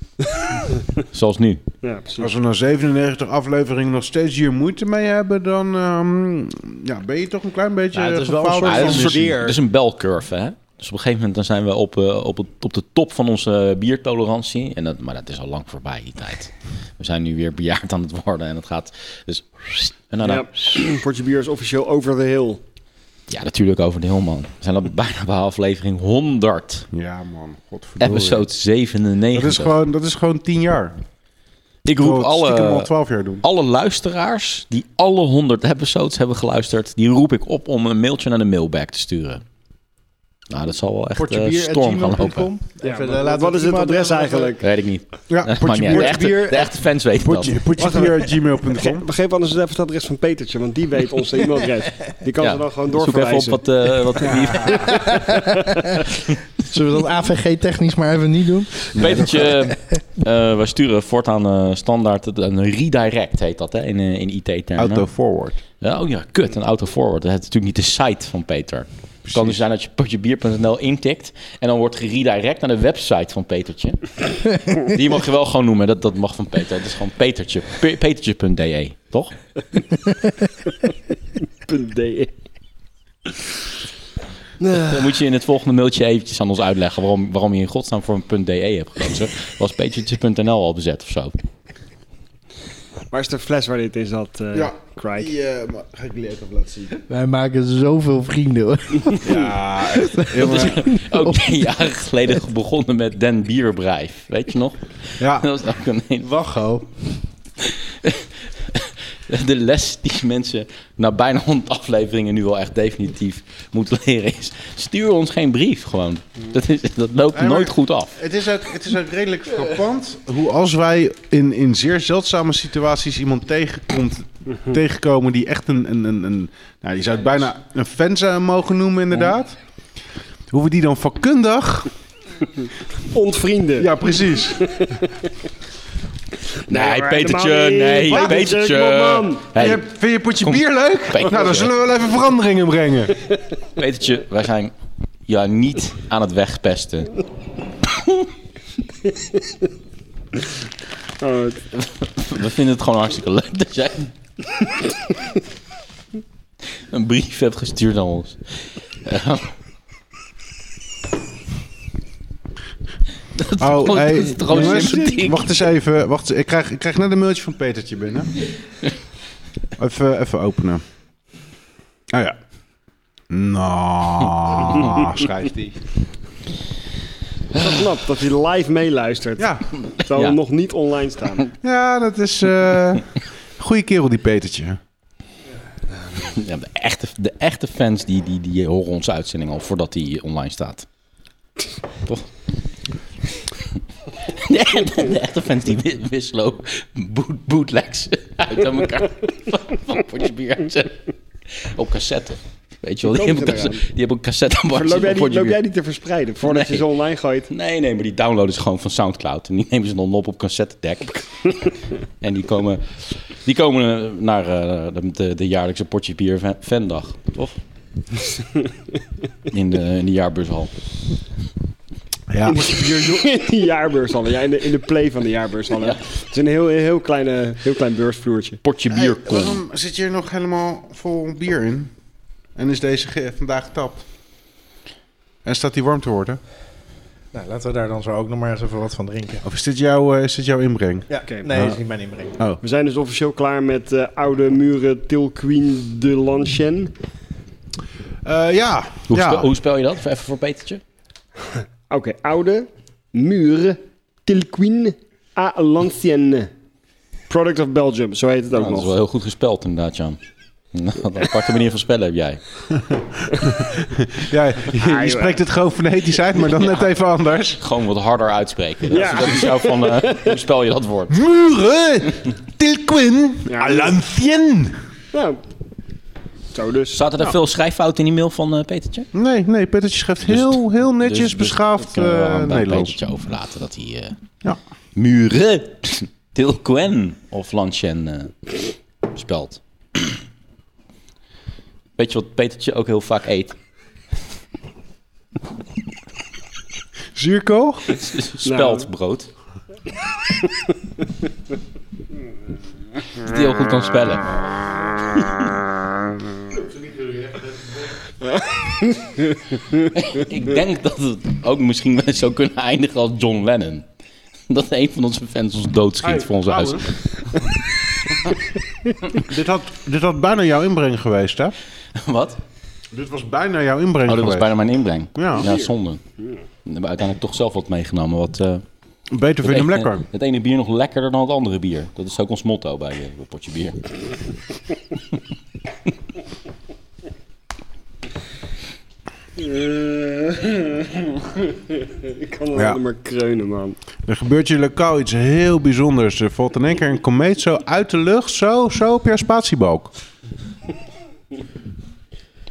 Speaker 1: Zoals nu.
Speaker 2: Ja, precies.
Speaker 4: Als we na 97 afleveringen nog steeds hier moeite mee hebben, dan ehm, ja, ben je toch een klein beetje
Speaker 3: Ja, het is wel
Speaker 4: gefaald
Speaker 3: een soort
Speaker 1: Ah, dat,
Speaker 4: met
Speaker 1: is
Speaker 4: je
Speaker 1: een
Speaker 4: missie.
Speaker 1: soort, dat is een belcurve, hè? Dus op een gegeven moment dan zijn we op, eh, op, het, op de top van onze biertolerantie. En dat, maar dat is al lang voorbij, die tijd. We zijn nu weer bejaard aan het worden en het gaat... Dus, en dan,
Speaker 2: Ja, [clears throat] Portje Bier is officieel over de hill.
Speaker 1: ja, natuurlijk over de heel man. We zijn al [laughs] bijna bij aflevering 100.
Speaker 4: Ja, man. Godverdomme.
Speaker 1: Episode 97.
Speaker 4: Dat is, gewoon, dat is gewoon 10 jaar.
Speaker 1: Ik roep
Speaker 4: Terwijl we het stiekem al
Speaker 1: alle,
Speaker 4: 12 jaar doen.
Speaker 1: alle luisteraars die alle 100 episodes hebben geluisterd... die roep ik op om een mailtje naar de mailbag te sturen. Nou, dat zal wel echt eh, storm gaan lopen.
Speaker 3: portjebier@gmail.com. Even, eh,
Speaker 2: maar
Speaker 3: laten we
Speaker 2: wat is het adres eigenlijk?
Speaker 1: Weet ik niet.
Speaker 4: Ja,
Speaker 1: Dat maakt niet uit. De echte,
Speaker 3: Portjebier-
Speaker 1: de echte fans weten dat.
Speaker 4: potjebier.gmail.com.
Speaker 2: Begreep anders het even het adres van Petertje, want die weet [laughs] onze e-mailadres. Die kan
Speaker 1: Ja.
Speaker 2: ze dan gewoon
Speaker 1: Zoek even op
Speaker 2: doorverwijzen.
Speaker 1: wat, eh wat [laughs] wie-
Speaker 3: Zullen we dat AVG technisch maar even niet doen?
Speaker 1: [laughs] Petertje, eh wij sturen voortaan eh, standaard een redirect heet dat hè, in, eh, in IT-termen.
Speaker 4: Auto forward.
Speaker 1: Ja, oh ja, kut, een auto forward. Dat is natuurlijk niet de site van Peter. Het kan dus zijn dat je potjebier.nl intikt en dan wordt geredirect naar de website van [laughs] Petertje. Die mag je wel gewoon noemen, dat, dat mag van Peter. Het is gewoon Petertje, pe- petertje.de, toch?
Speaker 2: .de.
Speaker 1: Dan moet je in het volgende mailtje eventjes aan ons uitleggen waarom, waarom je in godsnaam voor een .de hebt gekozen. Was petertje.nl al bezet of zo?
Speaker 2: Waar is de fles waar dit in zat, eh
Speaker 4: Ja.
Speaker 2: Craig?
Speaker 4: ga ik jullie even laten zien.
Speaker 3: Wij maken zoveel vrienden hoor.
Speaker 4: Ja, echt. Jongen.
Speaker 1: Ook tien jaar geleden begonnen met Den Bierbrijf. Weet je nog?
Speaker 4: Ja,
Speaker 1: Dat was ook een hele-
Speaker 3: Wacho.
Speaker 1: De les die mensen na bijna 100 afleveringen nu wel echt definitief moeten leren is... Stuur ons geen brief gewoon. Dat, is, dat loopt
Speaker 4: Nee, maar-
Speaker 1: nooit goed af.
Speaker 4: Het is, ook, het is ook redelijk frappant hoe als wij in, in zeer zeldzame situaties iemand tegenkomt, tegenkomen die echt een, een, een, een... Nou, je zou het bijna een fan zijn mogen noemen inderdaad. Hoe we die dan vakkundig...
Speaker 2: Ontvrienden.
Speaker 4: Ja, precies.
Speaker 1: Nee,
Speaker 2: maar
Speaker 1: Petertje,
Speaker 2: helemaal niet.
Speaker 1: nee,
Speaker 2: Petertje,
Speaker 1: Petertje.
Speaker 2: kom op, man.
Speaker 1: Hey,
Speaker 4: Vind je- Vind je potje
Speaker 1: Kom.
Speaker 4: bier leuk?
Speaker 1: Peter.
Speaker 4: Nou, dan zullen we wel even veranderingen brengen.
Speaker 1: Petertje, wij zijn ja niet aan het wegpesten.
Speaker 2: Oh, het-
Speaker 1: We vinden het gewoon hartstikke leuk dat jij een brief hebt gestuurd aan ons. Ja.
Speaker 4: Oh,
Speaker 1: gewoon-
Speaker 4: hey,
Speaker 1: dat is toch gewoon
Speaker 4: jongens,
Speaker 1: sympathiek?
Speaker 4: wacht eens even. Wacht, eens, ik, krijg, ik krijg net een mailtje van Petertje binnen.
Speaker 1: [laughs]
Speaker 4: Even, even openen. Oh ja.
Speaker 1: [laughs]
Speaker 4: Nou, schrijft hij.
Speaker 2: is wel knap dat hij live meeluistert,
Speaker 4: Ja,
Speaker 2: terwijl
Speaker 1: Ja.
Speaker 2: we nog niet online
Speaker 1: [laughs]
Speaker 2: staan.
Speaker 4: ja, dat is... eh goeie kerel, die Petertje.
Speaker 1: Ja, de, echte, de echte fans die, die, die horen onze uitzending al voordat die online staat. Toch? De, de- de echte fans die wi- wisselen ook boot, bootlegs uit aan elkaar van- van potjes bier uit. Op cassette. Weet je wel, die
Speaker 2: Hoe
Speaker 1: hebben,
Speaker 2: komen ze
Speaker 1: cassette, die hebben een cassette aan
Speaker 2: Maar
Speaker 1: bord
Speaker 2: loop jij,
Speaker 1: zitten
Speaker 2: die,
Speaker 1: van
Speaker 2: loop
Speaker 1: potje
Speaker 2: jij
Speaker 1: bier.
Speaker 2: die te verspreiden voordat
Speaker 1: Nee.
Speaker 2: je ze online gooit?
Speaker 1: Nee, nee, maar die downloaden ze gewoon van Soundcloud. En die [laughs] nemen ze dan op op [laughs] cassettedek. en die komen, die komen eh, naar eh, de- de, de jaarlijkse Potje Bier fan- Fandag, toch? in, de, in de jaarbushal.
Speaker 4: Ja.
Speaker 2: in de jaarbeurshallen. Ja, in de, in de play van de jaarbeurshallen. Het is een heel, heel, kleine, heel klein beursvloertje.
Speaker 1: Potje Bier Con.
Speaker 4: Waarom zit hier nog helemaal vol bier in? En is deze ge- vandaag getapt? En staat die warm te worden?
Speaker 3: Nou, laten we daar dan zo ook nog maar eens even wat van drinken.
Speaker 4: Of is dit, jouw eh, is dit jouw inbreng?
Speaker 3: Ja,
Speaker 2: Oké,
Speaker 3: nee,
Speaker 4: maar-
Speaker 3: is niet mijn inbreng.
Speaker 4: Oh.
Speaker 2: We zijn dus officieel klaar met eh, Oude Muren Tilqueen de Lanchen.
Speaker 4: Eh, ja.
Speaker 1: Hoe,
Speaker 4: ja.
Speaker 1: spe- hoe spel je dat? Even voor Petertje.
Speaker 2: Oké, Oude Muren Tilqueen à Lanchen. Product of Belgium, zo heet het ook
Speaker 1: Nou, dat is wel
Speaker 2: nog.
Speaker 1: heel goed gespeld inderdaad, Jan. [laughs] Wat een aparte manier van spellen heb jij.
Speaker 4: Ja, je, je spreekt het gewoon fonetisch uit, maar dan net even anders.
Speaker 1: Gewoon wat harder uitspreken. Dat,
Speaker 2: Ja.
Speaker 1: is, dat is jouw van, eh, hoe spel je dat woord?
Speaker 4: [laughs] Muren! Tilquin!
Speaker 2: Ja.
Speaker 4: Alancien!
Speaker 2: Nou, zo dus.
Speaker 1: Zaten er veel schrijffouten in die mail van eh, Petertje?
Speaker 4: Nee, nee, Pettertje schrijft
Speaker 1: Dus-
Speaker 4: heel, heel
Speaker 1: Dus-
Speaker 4: netjes,
Speaker 1: dus dat
Speaker 4: beschaafd
Speaker 1: kunnen we wel
Speaker 4: eh,
Speaker 1: aan bij
Speaker 4: Nederlands.
Speaker 1: Petertje overlaten dat hij... eh,
Speaker 4: Ja.
Speaker 1: Muren, Tilquen of Lanchen eh, spelt. [clears throat] Weet je wat Petertje ook heel vaak eet?
Speaker 4: Zuurkool?
Speaker 1: [laughs]
Speaker 4: Nou.
Speaker 1: Speldbrood. Dat hij heel goed kan
Speaker 4: [laughs]
Speaker 1: spellen. Ik denk dat het ook misschien wel zou kunnen eindigen als John Lennon. Dat een van onze fans ons doodschiet voor ons huis.
Speaker 4: dit, had, dit had bijna jouw inbreng geweest, hè?
Speaker 1: Wat?
Speaker 4: Dit was bijna jouw inbreng
Speaker 1: Oh, dat was
Speaker 4: geweest.
Speaker 1: bijna mijn inbreng.
Speaker 4: Ja.
Speaker 1: Ja, zonde. We hebben uiteindelijk toch zelf wat meegenomen. Wat, eh,
Speaker 4: Beter vind
Speaker 1: het,
Speaker 4: je hem
Speaker 1: ene,
Speaker 4: lekker.
Speaker 1: het ene bier nog lekkerder dan het andere bier. Dat is ook ons motto bij eh, bij potje bier.
Speaker 2: Eh. [laughs] Ik kan alleen
Speaker 4: Ja.
Speaker 2: maar kreunen, man.
Speaker 4: Er gebeurt je lokaal iets heel bijzonders. Er valt in één keer een komeet zo uit de lucht, zo, zo op jouw spatiebalk.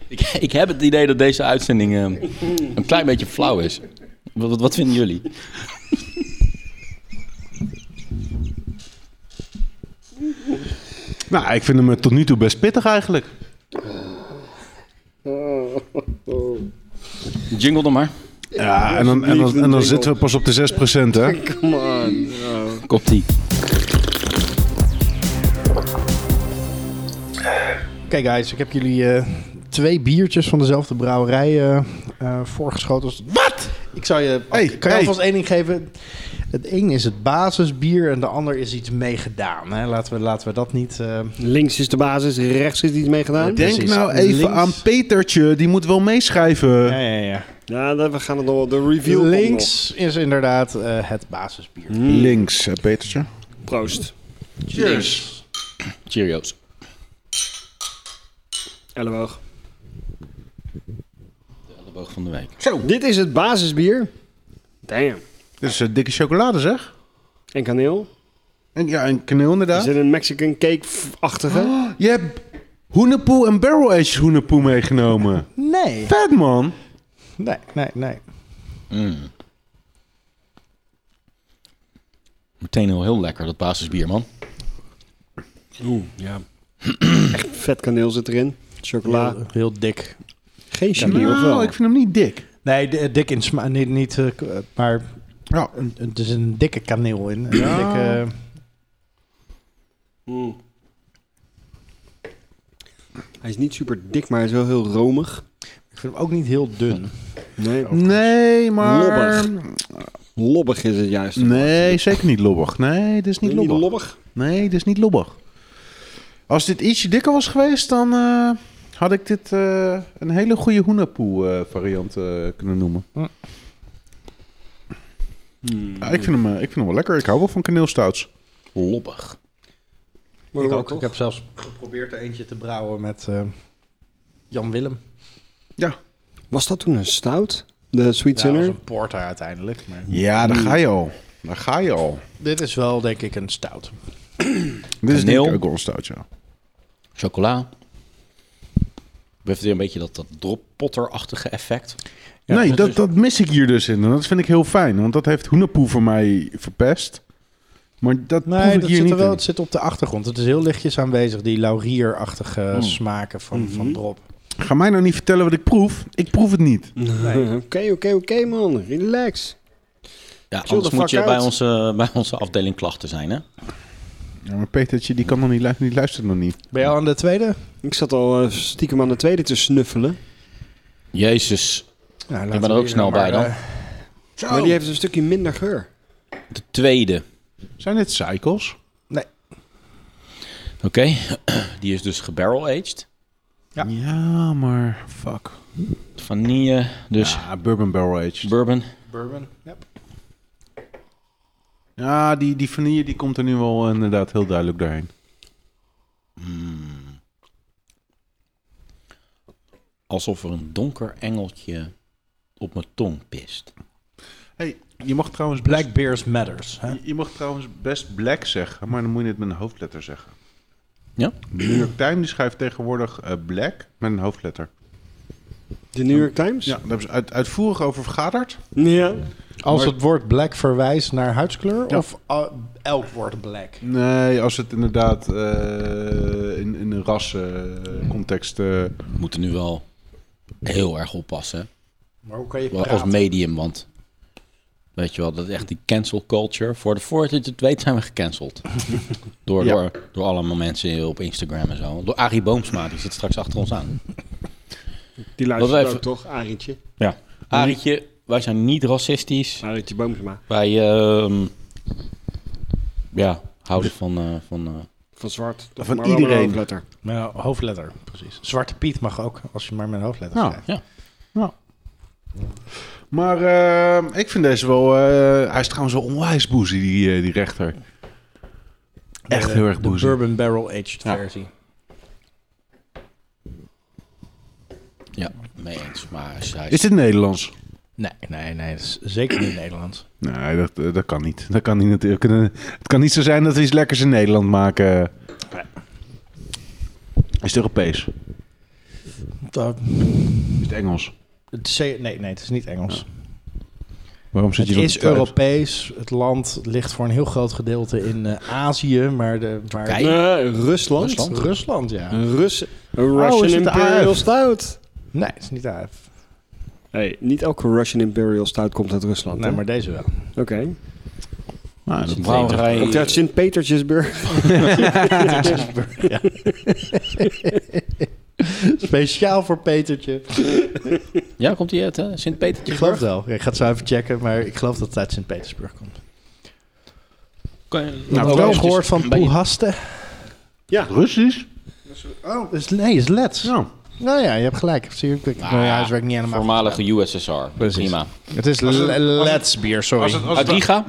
Speaker 1: Ik, [laughs] ik heb het idee dat deze uitzending eh, een klein beetje flauw is. Wat, wat, wat vinden jullie?
Speaker 4: Nou, ik vind hem tot nu toe best pittig eigenlijk.
Speaker 2: Oh,
Speaker 1: Jingle dan maar.
Speaker 4: Ja, en dan, en dan, en dan zitten we pas op de 6%, hè?
Speaker 2: [laughs] Come on. Oh.
Speaker 1: Komt die.
Speaker 3: Oké guys, ik heb jullie eh, twee biertjes van dezelfde brouwerij eh, eh, voorgeschoten. Als... Wat? Ik zou je,
Speaker 4: Hey,
Speaker 3: ik kan je
Speaker 4: hey.
Speaker 3: alvast één ding geven. Het een is het basisbier en de ander is iets meegedaan. hè. Laten, we, laten we dat niet... eh,
Speaker 2: Links is de basis, rechts is iets mee gedaan.
Speaker 4: Denk
Speaker 3: Precies.
Speaker 4: nou even
Speaker 3: Links.
Speaker 4: aan Petertje, die moet wel meeschrijven.
Speaker 3: ja, ja, ja.
Speaker 2: Ja, dan- we gaan het nog wel. De review komt
Speaker 3: Links is inderdaad eh, het basisbier.
Speaker 4: Links, eh, Petertje.
Speaker 2: nog. Proost.
Speaker 4: Cheers.
Speaker 1: Cheerios.
Speaker 2: Elleboog.
Speaker 1: De elleboog van de week.
Speaker 2: Dit is het basisbier. Damn.
Speaker 4: Dit is eh, dikke chocolade, zeg.
Speaker 2: En kaneel.
Speaker 4: En, ja, en kaneel
Speaker 2: Er
Speaker 4: inderdaad.
Speaker 2: zit een Mexican cake-achtige. [gasps]
Speaker 4: Je hebt hoenepoe en barrel aged hoenepoe meegenomen.
Speaker 3: Nee.
Speaker 4: Vet, man.
Speaker 3: Nee, nee, nee.
Speaker 1: Meteen heel, heel lekker, dat basisbier, man.
Speaker 2: Vet kaneel zit erin. Chocola.
Speaker 3: Heel, heel dik.
Speaker 2: Geen chili, of wel?
Speaker 4: Nou, ik vind hem niet dik.
Speaker 3: Nee, de- dik in smaak. Niet, niet, eh, k- eh, maar
Speaker 4: Ja.
Speaker 3: een- een- er zit een dikke kaneel in. Een dikke,
Speaker 2: Hij is niet super dik, maar hij is wel heel romig.
Speaker 3: ik vind hem ook niet heel dun.
Speaker 2: Nee.
Speaker 4: Nee, maar...
Speaker 2: Lobbig is het juist.
Speaker 4: Nee, zeker niet lobbig. Nee, dit is niet
Speaker 2: Niet
Speaker 4: lobbig.
Speaker 2: lobbig.
Speaker 4: Nee, dit is niet lobbig. Als dit ietsje dikker was geweest, dan eh, had ik dit eh, een hele goede hoenapoe eh, variant eh, kunnen noemen. Ja, ik, vind hem, eh, ik vind hem wel lekker. Ik hou wel van kaneelstouts.
Speaker 1: Lobbig.
Speaker 3: Ik, ook, ik heb zelfs geprobeerd er eentje te brouwen met eh, Jan Willem.
Speaker 4: Ja.
Speaker 2: Was dat toen een stout? De Sweet
Speaker 3: Ja, dat was
Speaker 2: Sinner?
Speaker 3: een porter uiteindelijk. Maar
Speaker 4: Ja, daar ga je al. Daar ga je al.
Speaker 3: dit is wel denk ik een stout.
Speaker 4: Dit is denk
Speaker 1: Kaneel.
Speaker 4: ik ook wel een stout, ja.
Speaker 1: Chocola. Heeft weer een beetje dat, dat droppotterachtige effect.
Speaker 3: Ja,
Speaker 4: nee,
Speaker 3: dat
Speaker 4: dat,
Speaker 3: is-
Speaker 4: dat mis ik hier dus in. En dat vind ik heel fijn. Want dat heeft hoenapoe voor mij verpest. Maar dat proef
Speaker 3: Nee,
Speaker 4: ik
Speaker 3: dat
Speaker 4: hier
Speaker 3: zit
Speaker 4: niet
Speaker 3: er wel,
Speaker 4: in.
Speaker 3: het zit op de achtergrond. Het is heel lichtjes aanwezig, die laurierachtige eh, smaken van, van drop.
Speaker 4: Ga mij nou niet vertellen wat ik proef. Ik proef het niet.
Speaker 2: Mhm. Oké, oké, oké man. Relax.
Speaker 1: Ja,
Speaker 2: the
Speaker 1: anders moet
Speaker 2: fuck
Speaker 1: je bij
Speaker 2: out.
Speaker 1: onze, bij onze afdeling klachten zijn, hè?
Speaker 4: Ja, maar Petertje, die kan nog niet luisteren. Die luistert nog niet.
Speaker 3: Ben je al aan de tweede? Nou,
Speaker 2: Ik zat al eh, stiekem aan de tweede te snuffelen.
Speaker 1: Jezus.
Speaker 3: Nou,
Speaker 1: ben
Speaker 3: laten we
Speaker 1: er ook
Speaker 3: hier
Speaker 1: snel
Speaker 3: nou
Speaker 1: bij
Speaker 3: maar,
Speaker 1: dan.
Speaker 3: eh,
Speaker 2: Maar die heeft dus een stukje minder geur.
Speaker 1: De tweede.
Speaker 4: Zijn dit cycles?
Speaker 3: nee,
Speaker 1: Oké. [clears throat] Die is dus gebarrel-aged.
Speaker 3: Ja.
Speaker 4: Ja, maar fuck.
Speaker 1: Vanille, dus
Speaker 4: Ja, bourbon barrel aged.
Speaker 1: bourbon.
Speaker 3: bourbon. Ja.
Speaker 4: Ja, die, die vanille die komt er nu wel inderdaad heel duidelijk doorheen.
Speaker 1: alsof er een donker engeltje op mijn tong pist.
Speaker 4: Hey, je mag trouwens
Speaker 3: Black Bears Matters. Hè?
Speaker 4: Je, je mag trouwens best black zeggen, maar dan moet je het met een hoofdletter zeggen.
Speaker 1: Ja?
Speaker 4: De [clears throat] New York Times die schrijft tegenwoordig eh, black met een hoofdletter.
Speaker 2: De New York Times?
Speaker 4: Ja, daar hebben ze uit, uitvoerig over vergaderd.
Speaker 2: Ja.
Speaker 3: Als
Speaker 4: Maar-
Speaker 3: het woord black verwijst naar huidskleur of eh, elk woord black?
Speaker 4: Nee, als het inderdaad eh, in, in een rascontext... eh
Speaker 1: We moeten nu wel heel erg oppassen.
Speaker 3: Maar hoe kan je
Speaker 1: Wel als
Speaker 3: praten?
Speaker 1: medium, want weet je wel, dat is echt die cancel culture. Voor de voordat je het weet zijn we gecanceld. door,
Speaker 4: Ja.
Speaker 1: door, door allemaal mensen op Instagram en zo. Door Arie Boomsma, die zit straks achter ons aan. Wat
Speaker 2: Die luistert
Speaker 1: even-
Speaker 2: ook toch, Arietje?
Speaker 1: Ja. Arietje, wij zijn niet racistisch.
Speaker 2: Arietje Boomsma.
Speaker 1: Wij ehm, ja, houden van, eh, van eh,
Speaker 2: Van zwart. Toch
Speaker 4: Van
Speaker 2: maar wel met een
Speaker 4: iedereen.
Speaker 2: hoofdletter.
Speaker 3: Met een hoofdletter, precies. Zwarte Piet mag ook, als je maar met een hoofdletter
Speaker 4: Nou,
Speaker 3: schrijft.
Speaker 1: ja.
Speaker 4: Maar eh, ik vind deze wel... eh, hij is trouwens wel onwijs boezie, die, eh, die rechter. Echt
Speaker 3: De-
Speaker 4: heel erg
Speaker 3: De
Speaker 4: boezie.
Speaker 3: Bourbon Barrel Aged
Speaker 4: Ja.
Speaker 3: versie.
Speaker 1: ja, mee eens. Maar zij
Speaker 4: Is dit Nederlands?
Speaker 3: Nee, nee, nee. Dat is zeker niet Nederlands.
Speaker 4: Nee, dat, eh, dat kan niet. Dat kan niet natuurlijk. Eh, Het kan niet zo zijn dat we iets lekkers in Nederland maken. Is het Europees?
Speaker 3: Dat-
Speaker 4: Is het Engels?
Speaker 3: het is ze- nee, nee, het is niet Engels.
Speaker 4: Waarom zit
Speaker 3: Het
Speaker 4: je dan te
Speaker 3: is
Speaker 4: twijfelen?
Speaker 3: Europees. Het land ligt voor een heel groot gedeelte in eh, Azië, maar de... Waar
Speaker 1: Turkije?
Speaker 2: Eh, Rusland?
Speaker 1: Rusland?
Speaker 3: Rusland, ja.
Speaker 2: Een Rus een
Speaker 4: Oh,
Speaker 2: Russian
Speaker 4: is het de
Speaker 2: Imperial
Speaker 4: AF?
Speaker 2: Stout.
Speaker 3: Nee, het is niet AF.
Speaker 2: Hey, niet elke Russian Imperial Stout komt uit Rusland.
Speaker 3: Nee,
Speaker 2: hè?
Speaker 3: maar deze wel.
Speaker 2: Oké.
Speaker 4: Nou, dat-
Speaker 1: een brouwerij.
Speaker 2: Komt die uit Sint-Petersburg?
Speaker 3: Speciaal voor Petertje.
Speaker 1: Ja, komt die uit hè?
Speaker 3: Ik
Speaker 1: Sint-Petersburg?
Speaker 3: geloof het wel. Ja, Ik ga het zo even checken, maar ik geloof dat het uit Sint-Petersburg komt.
Speaker 1: Kan je-
Speaker 4: Nou,
Speaker 3: Nou, ook
Speaker 4: trouwens,
Speaker 3: wel
Speaker 4: het is
Speaker 3: gehoord van
Speaker 1: een beetje-
Speaker 3: Poehaste.
Speaker 4: Russisch?
Speaker 3: Oh, is, nee, is Lets.
Speaker 4: Nou,
Speaker 3: Nou ja, je hebt gelijk. Zie je, Ik heb mijn huiswerk niet helemaal.
Speaker 1: Voormalige USSR.
Speaker 3: Precies.
Speaker 1: Prima.
Speaker 3: Het is le- Let's bier, sorry.
Speaker 4: als het, als, het, aan-
Speaker 1: Adriga?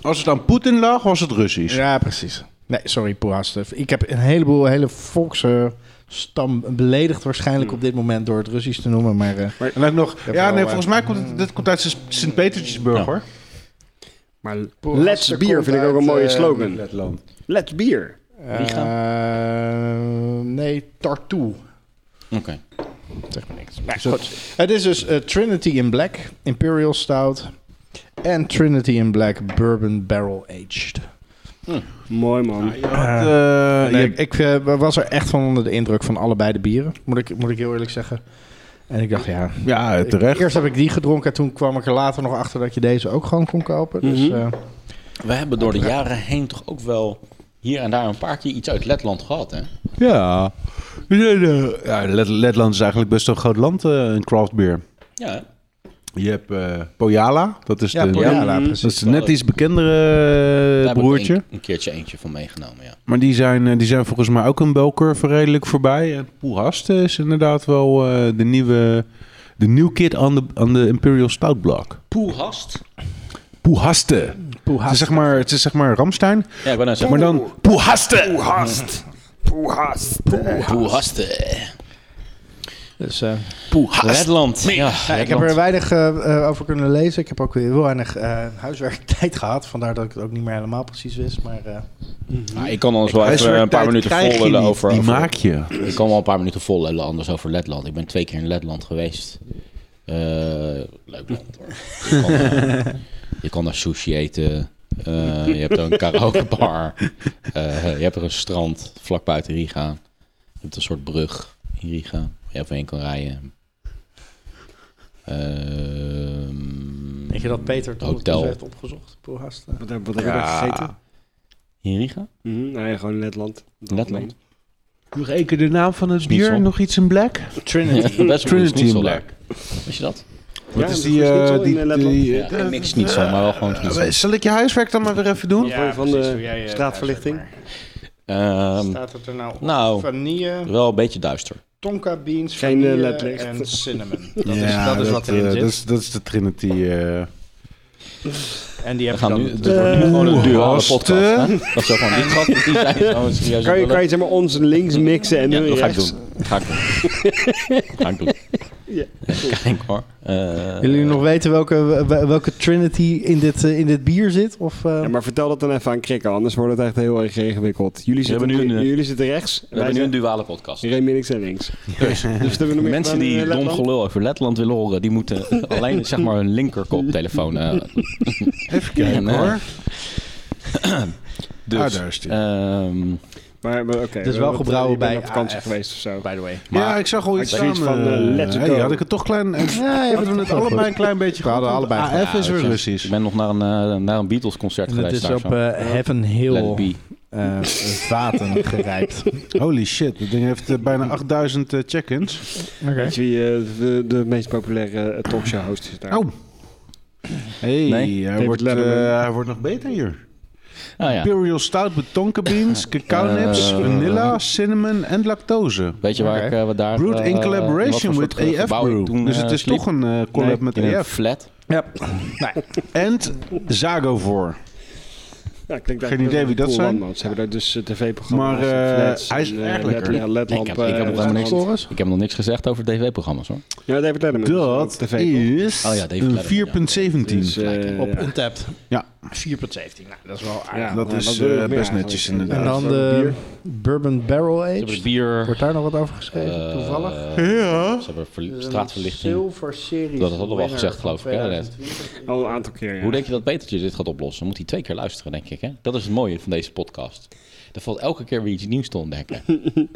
Speaker 4: als het aan Poetin lag, was het Russisch.
Speaker 3: Ja, precies. Nee, sorry, Poehaste. Ik heb een heleboel hele volksstam stam beledigd waarschijnlijk
Speaker 2: Hmm.
Speaker 3: op dit moment door het Russisch te noemen, maar eh,
Speaker 4: En ook nog... Ja,
Speaker 3: wel,
Speaker 4: nee,
Speaker 3: eh,
Speaker 4: volgens mij komt het, dit komt uit Sint- Sint-Petersburg,
Speaker 1: Ja.
Speaker 4: hoor.
Speaker 2: Maar
Speaker 3: Poehaste
Speaker 2: Let's
Speaker 3: komt
Speaker 2: bier vind ik
Speaker 3: uit,
Speaker 2: ook een mooie
Speaker 3: eh,
Speaker 2: slogan.
Speaker 4: Letland.
Speaker 2: Let's bier.
Speaker 3: eh, nee, Tartu.
Speaker 1: Oké.
Speaker 3: Zeg maar niks. Maar goed. Het is dus eh, Trinity in Black, Imperial Stout en Trinity in Black Bourbon Barrel Aged.
Speaker 2: Mooi man.
Speaker 4: Je had, eh,
Speaker 3: Nee,
Speaker 4: je-
Speaker 3: ik ik, eh, was er echt van onder de indruk van allebei de bieren, moet ik, moet ik heel eerlijk zeggen. En ik dacht, ja,
Speaker 4: ja,
Speaker 3: Ik-
Speaker 4: terecht.
Speaker 3: Eerst heb ik die gedronken, en toen kwam ik er later nog achter dat je deze ook gewoon kon kopen. Dus
Speaker 2: Mhm.
Speaker 3: eh,
Speaker 1: We hebben door de jaren heen toch ook wel hier en daar een paar keer iets uit Letland gehad, hè?
Speaker 4: Ja. eh, ja Let- Letland is eigenlijk best wel een groot land eh, in craft beer.
Speaker 1: Ja, hè?
Speaker 4: Je hebt eh Pojala, dat is
Speaker 3: ja,
Speaker 4: de,
Speaker 3: Poljala,
Speaker 2: ja,
Speaker 4: dat
Speaker 3: precies.
Speaker 4: is de net iets bekendere
Speaker 1: Daar
Speaker 4: eh,
Speaker 1: heb ik
Speaker 4: broertje.
Speaker 1: Een, een keertje eentje van meegenomen, ja.
Speaker 4: Maar die zijn, eh, die zijn volgens mij ook een belcurve redelijk voorbij. En Poelhast is inderdaad wel eh, de nieuwe... De new kid aan de aan de Imperial Stout Block.
Speaker 1: Poelhast?
Speaker 4: Poehaste. Het is zeg maar, het is zeg maar Ramstein,
Speaker 1: Ja, ik ben net
Speaker 4: maar dan Poehaste.
Speaker 2: Poehast. Poehast.
Speaker 1: Poelhaste.
Speaker 3: Dus, eh,
Speaker 1: Letland. Ja,
Speaker 3: ja, ik heb er weinig eh, eh, over kunnen lezen. Ik heb ook weer heel weinig eh, huiswerktijd [laughs] gehad. Vandaar dat ik het ook niet meer helemaal precies wist. Maar eh,
Speaker 1: Nou, ik kan anders wel even een paar
Speaker 4: Huiswerktijd
Speaker 1: minuten
Speaker 4: krijg je
Speaker 1: vol lullen
Speaker 4: niet,
Speaker 1: over...
Speaker 4: Die
Speaker 1: over-
Speaker 4: maak je.
Speaker 1: Ik kan wel een paar minuten vol lullen anders over Letland. Ik ben twee keer in Letland geweest. Eh, leuk land hoor. Je kan, eh, je kan daar sushi eten. Eh, je hebt een karaokebar. Eh, je hebt er een strand vlak buiten Riga. Je hebt een soort brug in Riga waar je overheen kan rijden. Ehm,
Speaker 3: denk je dat Peter toen het
Speaker 1: Hotel.
Speaker 3: dus heeft opgezocht? Poehast, eh?
Speaker 2: Wat heb wat heb je daar gegeten?
Speaker 1: in Riga?
Speaker 2: Mhm, Nee, gewoon Letland. Dat
Speaker 1: Letland.
Speaker 4: Nog één keer de naam van het
Speaker 1: Schnitzel.
Speaker 4: bier. Nog iets in black.
Speaker 1: Ja,
Speaker 3: Trinity.
Speaker 1: [laughs] best wel
Speaker 4: Trinity
Speaker 1: een
Speaker 4: in
Speaker 1: schnitzel
Speaker 4: black.
Speaker 1: daar. Weet je dat?
Speaker 2: Ja,
Speaker 4: Wat is
Speaker 2: dat
Speaker 4: die...
Speaker 2: is
Speaker 4: eh,
Speaker 2: schnitzel
Speaker 4: die,
Speaker 2: in Letland.
Speaker 4: die-
Speaker 1: Ja, een mix schnitzel, maar wel gewoon schnitzel.
Speaker 4: Eh, Zal ik je huiswerk dan maar weer even doen?
Speaker 2: Ja, van
Speaker 3: precies,
Speaker 2: de
Speaker 3: hoe jij, eh,
Speaker 2: straatverlichting.
Speaker 3: huiswerk maakt.
Speaker 1: Ehm,
Speaker 3: Staat het er nou op?
Speaker 1: nou,
Speaker 3: Vanille,
Speaker 1: wel een beetje duister.
Speaker 3: tonka beans,
Speaker 2: Geen, eh,
Speaker 3: vanille
Speaker 2: ledlicht.
Speaker 3: en cinnamon. Dat
Speaker 4: Ja,
Speaker 3: is, dat is wat
Speaker 4: eh,
Speaker 3: erin zit.
Speaker 4: Dat is, dat is de Trinity. eh.
Speaker 3: en die heb
Speaker 1: We gaan
Speaker 3: je dan...
Speaker 1: nu, het wordt nu gewoon een duale
Speaker 4: gasten.
Speaker 1: podcast. Hè? Dat is gewoon niet gast, die zijn gewoon serieus.
Speaker 2: Kan je, kan je zeg maar ons links mixen en
Speaker 1: Ja,
Speaker 2: hun
Speaker 1: dat ga ik
Speaker 2: rechts?
Speaker 1: doen. Ga ik doen. Ga ik doen.
Speaker 2: Ja.
Speaker 1: Kijk hoor. Eh,
Speaker 3: Willen jullie nog weten welke, wel- welke Trinity in dit, eh, in dit bier zit? Of, eh,
Speaker 2: Ja, maar vertel dat dan even aan Krikke, anders wordt het echt heel erg ingewikkeld. Jullie zitten,
Speaker 1: hebben nu een, eh,
Speaker 2: jullie zitten rechts.
Speaker 1: we hebben nu een
Speaker 2: zitten
Speaker 1: duale podcast.
Speaker 2: Remy en ik zijn links. Dus hebben we nog meer
Speaker 1: Mensen
Speaker 2: gedaan in,
Speaker 1: die
Speaker 2: eh,
Speaker 1: dom
Speaker 2: Letland?
Speaker 1: gelul over Letland willen horen, die moeten alleen zeg maar hun linkerkoptelefoon. eh Even kijken
Speaker 4: hoor.
Speaker 1: Dus,
Speaker 4: Ah, daar is die.
Speaker 1: ehm,
Speaker 2: Maar, maar oké.
Speaker 3: is
Speaker 2: we
Speaker 3: wel
Speaker 2: hebben-
Speaker 3: gebrouwen
Speaker 2: je bent
Speaker 3: bij
Speaker 2: op vakantie
Speaker 3: AF.
Speaker 2: geweest of zo.
Speaker 3: by the way.
Speaker 4: ja, ik zag al iets
Speaker 2: had je
Speaker 4: staan.
Speaker 2: zoiets van,
Speaker 4: eh,
Speaker 2: eh, let's
Speaker 4: hey,
Speaker 2: go.
Speaker 4: had ik het toch klein...
Speaker 3: Ja,
Speaker 4: Even doen het allebei een klein beetje Ah,
Speaker 7: We hadden
Speaker 4: goed, want
Speaker 7: allebei
Speaker 4: AF is weer
Speaker 1: ja,
Speaker 4: Russisch.
Speaker 1: Ik ben nog naar een, eh, naar een Beatles concert
Speaker 3: En het
Speaker 1: geweest.
Speaker 3: is
Speaker 1: daar
Speaker 3: op
Speaker 1: zo.
Speaker 3: eh, Heaven
Speaker 1: Let
Speaker 3: Hill
Speaker 1: it be.
Speaker 3: eh,
Speaker 1: [laughs]
Speaker 3: vaten gerijpt.
Speaker 4: Holy shit, dat ding heeft eh, bijna 8000 eh, check-ins.
Speaker 2: Weet je wie eh, de, de meest populaire eh, talkshow host is daar?
Speaker 4: Oh. Hey,
Speaker 1: Nee,
Speaker 4: hij,
Speaker 2: David
Speaker 4: wordt, eh,
Speaker 2: Letterman.
Speaker 4: hij wordt nog beter hier.
Speaker 1: Ah, ja.
Speaker 4: Imperial stout met tonka beans, cacao nips,
Speaker 1: Eh,
Speaker 4: vanilla, cinnamon en lactose.
Speaker 1: Weet je waar
Speaker 3: Oké.
Speaker 1: ik eh, wat daar...
Speaker 4: Brewed
Speaker 1: eh,
Speaker 4: in
Speaker 1: wat voor
Speaker 4: collaboration
Speaker 1: soort
Speaker 4: with AF
Speaker 1: gebouw ik
Speaker 4: Brew.
Speaker 1: toen,
Speaker 4: dus
Speaker 1: eh,
Speaker 4: het is
Speaker 1: sliep?
Speaker 4: toch een eh, collab met
Speaker 1: In een
Speaker 4: AF.
Speaker 1: flat.
Speaker 3: Ja.
Speaker 4: En Zago voor.
Speaker 2: Ja, klinkt eigenlijk
Speaker 4: Geen idee
Speaker 2: wel
Speaker 4: wie dat
Speaker 2: cool
Speaker 4: zijn.
Speaker 2: land, man. Ze hebben daar dus eh, tv-programma's.
Speaker 4: Maar, eh,
Speaker 2: en flats
Speaker 4: hij is
Speaker 2: en, eh,
Speaker 4: erg lekker.
Speaker 2: Let- ja, Letland,
Speaker 1: Ik heb- ik heb
Speaker 2: eh,
Speaker 1: nog helemaal niks
Speaker 2: Letland.
Speaker 1: Ik heb nog niks gezegd over tv-programma's hoor.
Speaker 2: Ja, David Letterman. is ook
Speaker 4: Dat
Speaker 2: tv
Speaker 4: is
Speaker 1: Oh ja, David
Speaker 4: een
Speaker 1: Letterman,
Speaker 4: 4.17.
Speaker 2: Dus, eh,
Speaker 3: Op
Speaker 2: ja.
Speaker 3: Untapped.
Speaker 4: Ja.
Speaker 3: 4.17. Nou, dat is wel aardig.
Speaker 2: Ja,
Speaker 4: dat
Speaker 2: nou,
Speaker 4: is,
Speaker 2: wil je
Speaker 4: eh,
Speaker 2: nog meer
Speaker 4: best
Speaker 2: eigenlijk?
Speaker 4: netjes,
Speaker 2: Ja,
Speaker 4: inderdaad.
Speaker 3: En dan
Speaker 2: zo'n
Speaker 3: de
Speaker 2: bier.
Speaker 3: Bourbon Barrel
Speaker 1: Ze hebben het
Speaker 3: Aged.
Speaker 1: bier...
Speaker 3: Wordt daar nog wat over geschreven,
Speaker 1: eh,
Speaker 3: toevallig? Eh,
Speaker 1: Ze hebben verli- straatverlichting.
Speaker 3: Silver Series.
Speaker 1: Dat hadden we al
Speaker 3: winner
Speaker 1: gezegd,
Speaker 3: van
Speaker 1: geloof ik, hè, net.
Speaker 3: 2020.
Speaker 2: Al een aantal keer, ja.
Speaker 1: Hoe denk je dat Petertje dit gaat oplossen? Moet hij twee keer luisteren, denk ik. Hè? Dat is het mooie van deze podcast. Er valt elke keer weer iets nieuws te ontdekken.